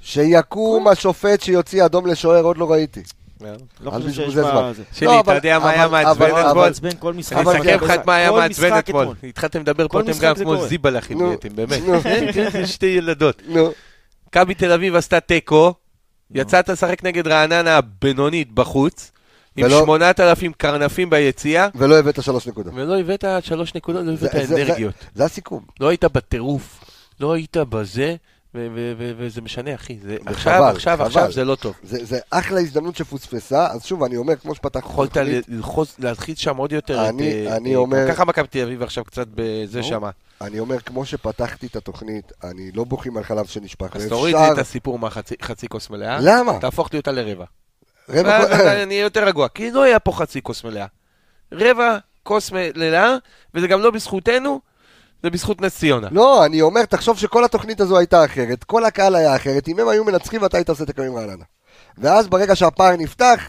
S1: שיקום השופט שיוציא אדום לשוער, עוד לא ראיתי.
S3: לא
S1: אל
S3: חושב שיש
S1: בזבז זמן.
S3: בה... זה.
S2: שלי,
S1: לא,
S2: אתה
S1: אבל-
S2: יודע מה היה
S1: אבל-
S2: מעצבן
S1: אבל-
S3: אבל
S2: אתמול?
S3: מעצבן כל משחק.
S2: אני
S1: אבל- כן,
S2: אסכם לך את מה היה
S3: כל
S2: מעצבן
S3: משחק
S2: אתמול. התחלתם לדבר
S3: כל
S2: פה, אתם
S3: משחק
S2: גם
S3: זה
S2: כמו
S3: קורה.
S2: זיבלחים
S1: נו,
S2: נהייתם, באמת.
S1: נו.
S2: זה שתי ילדות.
S1: נו,
S2: מכבי תל אביב עשתה תיקו, יצאת לשחק נגד רעננה הבינונית בחוץ, עם
S1: ולא-
S2: 8,000 קרנפים ביציאה,
S1: ולא הבאת שלוש נקודות.
S2: ולא הבאת שלוש נקודות, לא הבאת
S1: זה- זה-
S2: אנרגיות.
S1: זה הסיכום.
S2: לא היית בטירוף, לא היית בזה, ו- ו- ו- וזה משנה, אחי. זה
S1: וחבל,
S2: עכשיו, עכשיו,
S1: חבל.
S2: עכשיו זה לא טוב.
S1: זה זה אחלה הזדמנות שפוספסה, אז שוב, אני אומר, כמו שפתחנו...
S2: יכולת ל- ללחוץ, להתחיל שם עוד יותר. את,
S1: אני-
S2: אה,
S1: אני
S2: אה,
S1: אומר-
S2: גם ככה מכבי תל אביב עכשיו קצת בזה
S1: ברור.
S2: שמה.
S1: אני אומר, כמו שפתחתי את התוכנית, אני לא בוכים על חלב שנשפך.
S2: אז
S1: ואפשר-
S2: תוריד לי את הסיפור מהחצי חצי כוס מלאה.
S1: למה?
S2: תהפוך לי אותה לרבע.
S1: רבע
S2: ואז
S1: כל-
S2: אני אהיה יותר רגוע, כי לא היה פה חצי כוס מלאה. רבע כוס מלאה, וזה גם לא בזכותנו, זה בזכות נס ציונה.
S1: לא, אני אומר, תחשוב שכל התוכנית הזו הייתה אחרת, כל הקהל היה אחרת, אם הם היו מנצחים, אתה היית עושה תיקו עם רעננה. ואז ברגע שהפער נפתח,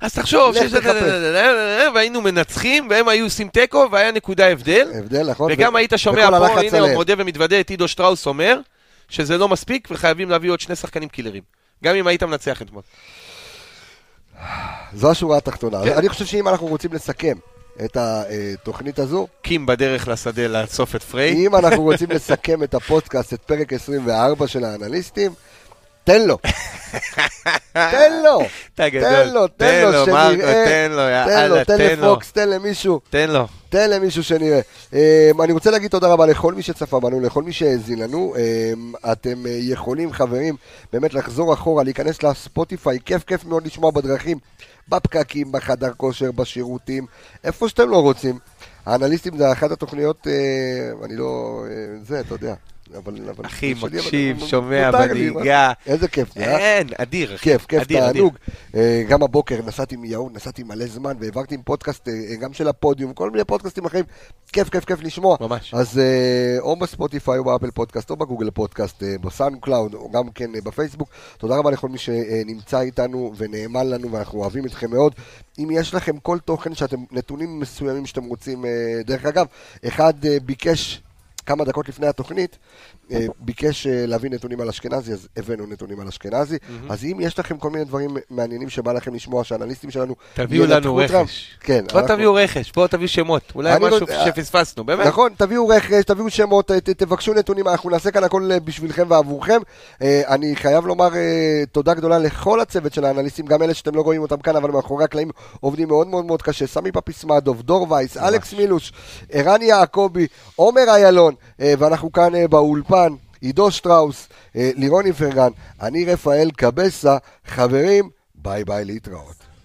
S2: אז תחשוב,
S1: לך
S2: שזה- והיינו מנצחים, והם היו עושים תיקו, והיה נקודה הבדל.
S1: הבדל, נכון?
S2: וגם
S1: ו-
S2: היית שומע
S1: וכל
S2: פה,
S1: הלחץ
S2: הנה
S1: עליהם.
S2: הוא מודה ומתוודה, את עידו שטראוס אומר שזה לא מספיק וחייבים להביא עוד שני שחקנים קילרים. גם אם היית מנצח אתמול.
S1: זו השורה התחתונה.
S2: כן.
S1: אני חושב שאם אנחנו רוצים לסכם את התוכנית הזו,
S2: קים בדרך לשדה לאסוף את פריי.
S1: אם אנחנו רוצים לסכם את הפודקאסט, את פרק 24 של האנליסטים, תן לו. תן לו.
S2: אתה גדול.
S1: תן לו, תן לו,
S2: מרקו,
S1: שנראה.
S2: תן לו, יא
S1: תן לו,
S2: אללה,
S1: תן
S2: תן לו.
S1: לפוקס, תן למישהו.
S2: תן לו.
S1: תן למישהו שנראה. אמ, אני רוצה להגיד תודה רבה לכל מי שצפה בנו, לכל מי שהאזין לנו. אמ, אתם אה, יכולים, חברים, באמת לחזור אחורה, להיכנס לספוטיפיי, כיף כיף מאוד לשמוע בדרכים, בפקקים, בחדר כושר, בשירותים, איפה שאתם לא רוצים. האנליסטים זה אחת התוכניות, אה, אני לא... אה, זה, אתה יודע. אבל... אבל-
S2: אחי,
S1: שלי, אבל-
S2: מקשיב,
S1: אבל-
S2: שומע,
S1: מותר לי,
S2: בנהיגה.
S1: מה? איזה כיף זה, אה?
S2: אין, אדיר, אחי.
S1: כיף, כיף,
S2: אדיר, אדיר.
S1: תענוג. אה, גם הבוקר נסעתי מיהוד, נסעתי מלא זמן, והעברתי עם פודקאסט, אה, אה, גם של הפודיום, כל מיני פודקאסטים אחרים. כיף, כיף, כיף לשמוע.
S2: ממש.
S1: אז אה, או בספוטיפיי, או באפל פודקאסט, או בגוגל פודקאסט, אה, בסאונד קלאוד, או גם כן אה, בפייסבוק. תודה רבה לכל מי שנמצא איתנו ונאמן לנו, ואנחנו אוהבים אתכם מאוד. אם יש לכם כל תוכן שאתם, נתונים מסוימים שאתם רוצים, אה, דרך אגב, אחד אה, ביקש כמה דקות לפני התוכנית, אה, ביקש אה, להביא נתונים על אשכנזי, אז הבאנו נתונים על אשכנזי. אז אם יש לכם כל מיני דברים מעניינים שבא לכם לשמוע, שהאנליסטים שלנו...
S2: תביאו
S1: ינתחו
S2: לנו
S1: אותם,
S2: רכש.
S1: כן.
S2: בוא
S1: אנחנו-
S2: תביאו רכש, בוא תביאו שמות. אולי
S1: אני לא-
S2: משהו שפספסנו, באמת.
S1: נכון, תביאו רכש, תביאו שמות, ת- תבקשו נתונים, אנחנו נעשה כאן הכל אה, בשבילכם ועבורכם. אה, אני חייב לומר אה, תודה גדולה לכל הצוות של האנליסטים, גם אלה שאתם לא רואים אותם כאן, אבל מאחורי הקלעים עובדים מאוד מאוד מאוד קשה. סמי פפיסמדוב, דור וייס, אלכס מילוש, ערן יעקבי, עומר איילון, אה, ואנחנו כאן אה, באולפן. עידו שטראוס, אה, לירון איפרגן, אני רפאל קבסה, חברים, ביי ביי להתראות.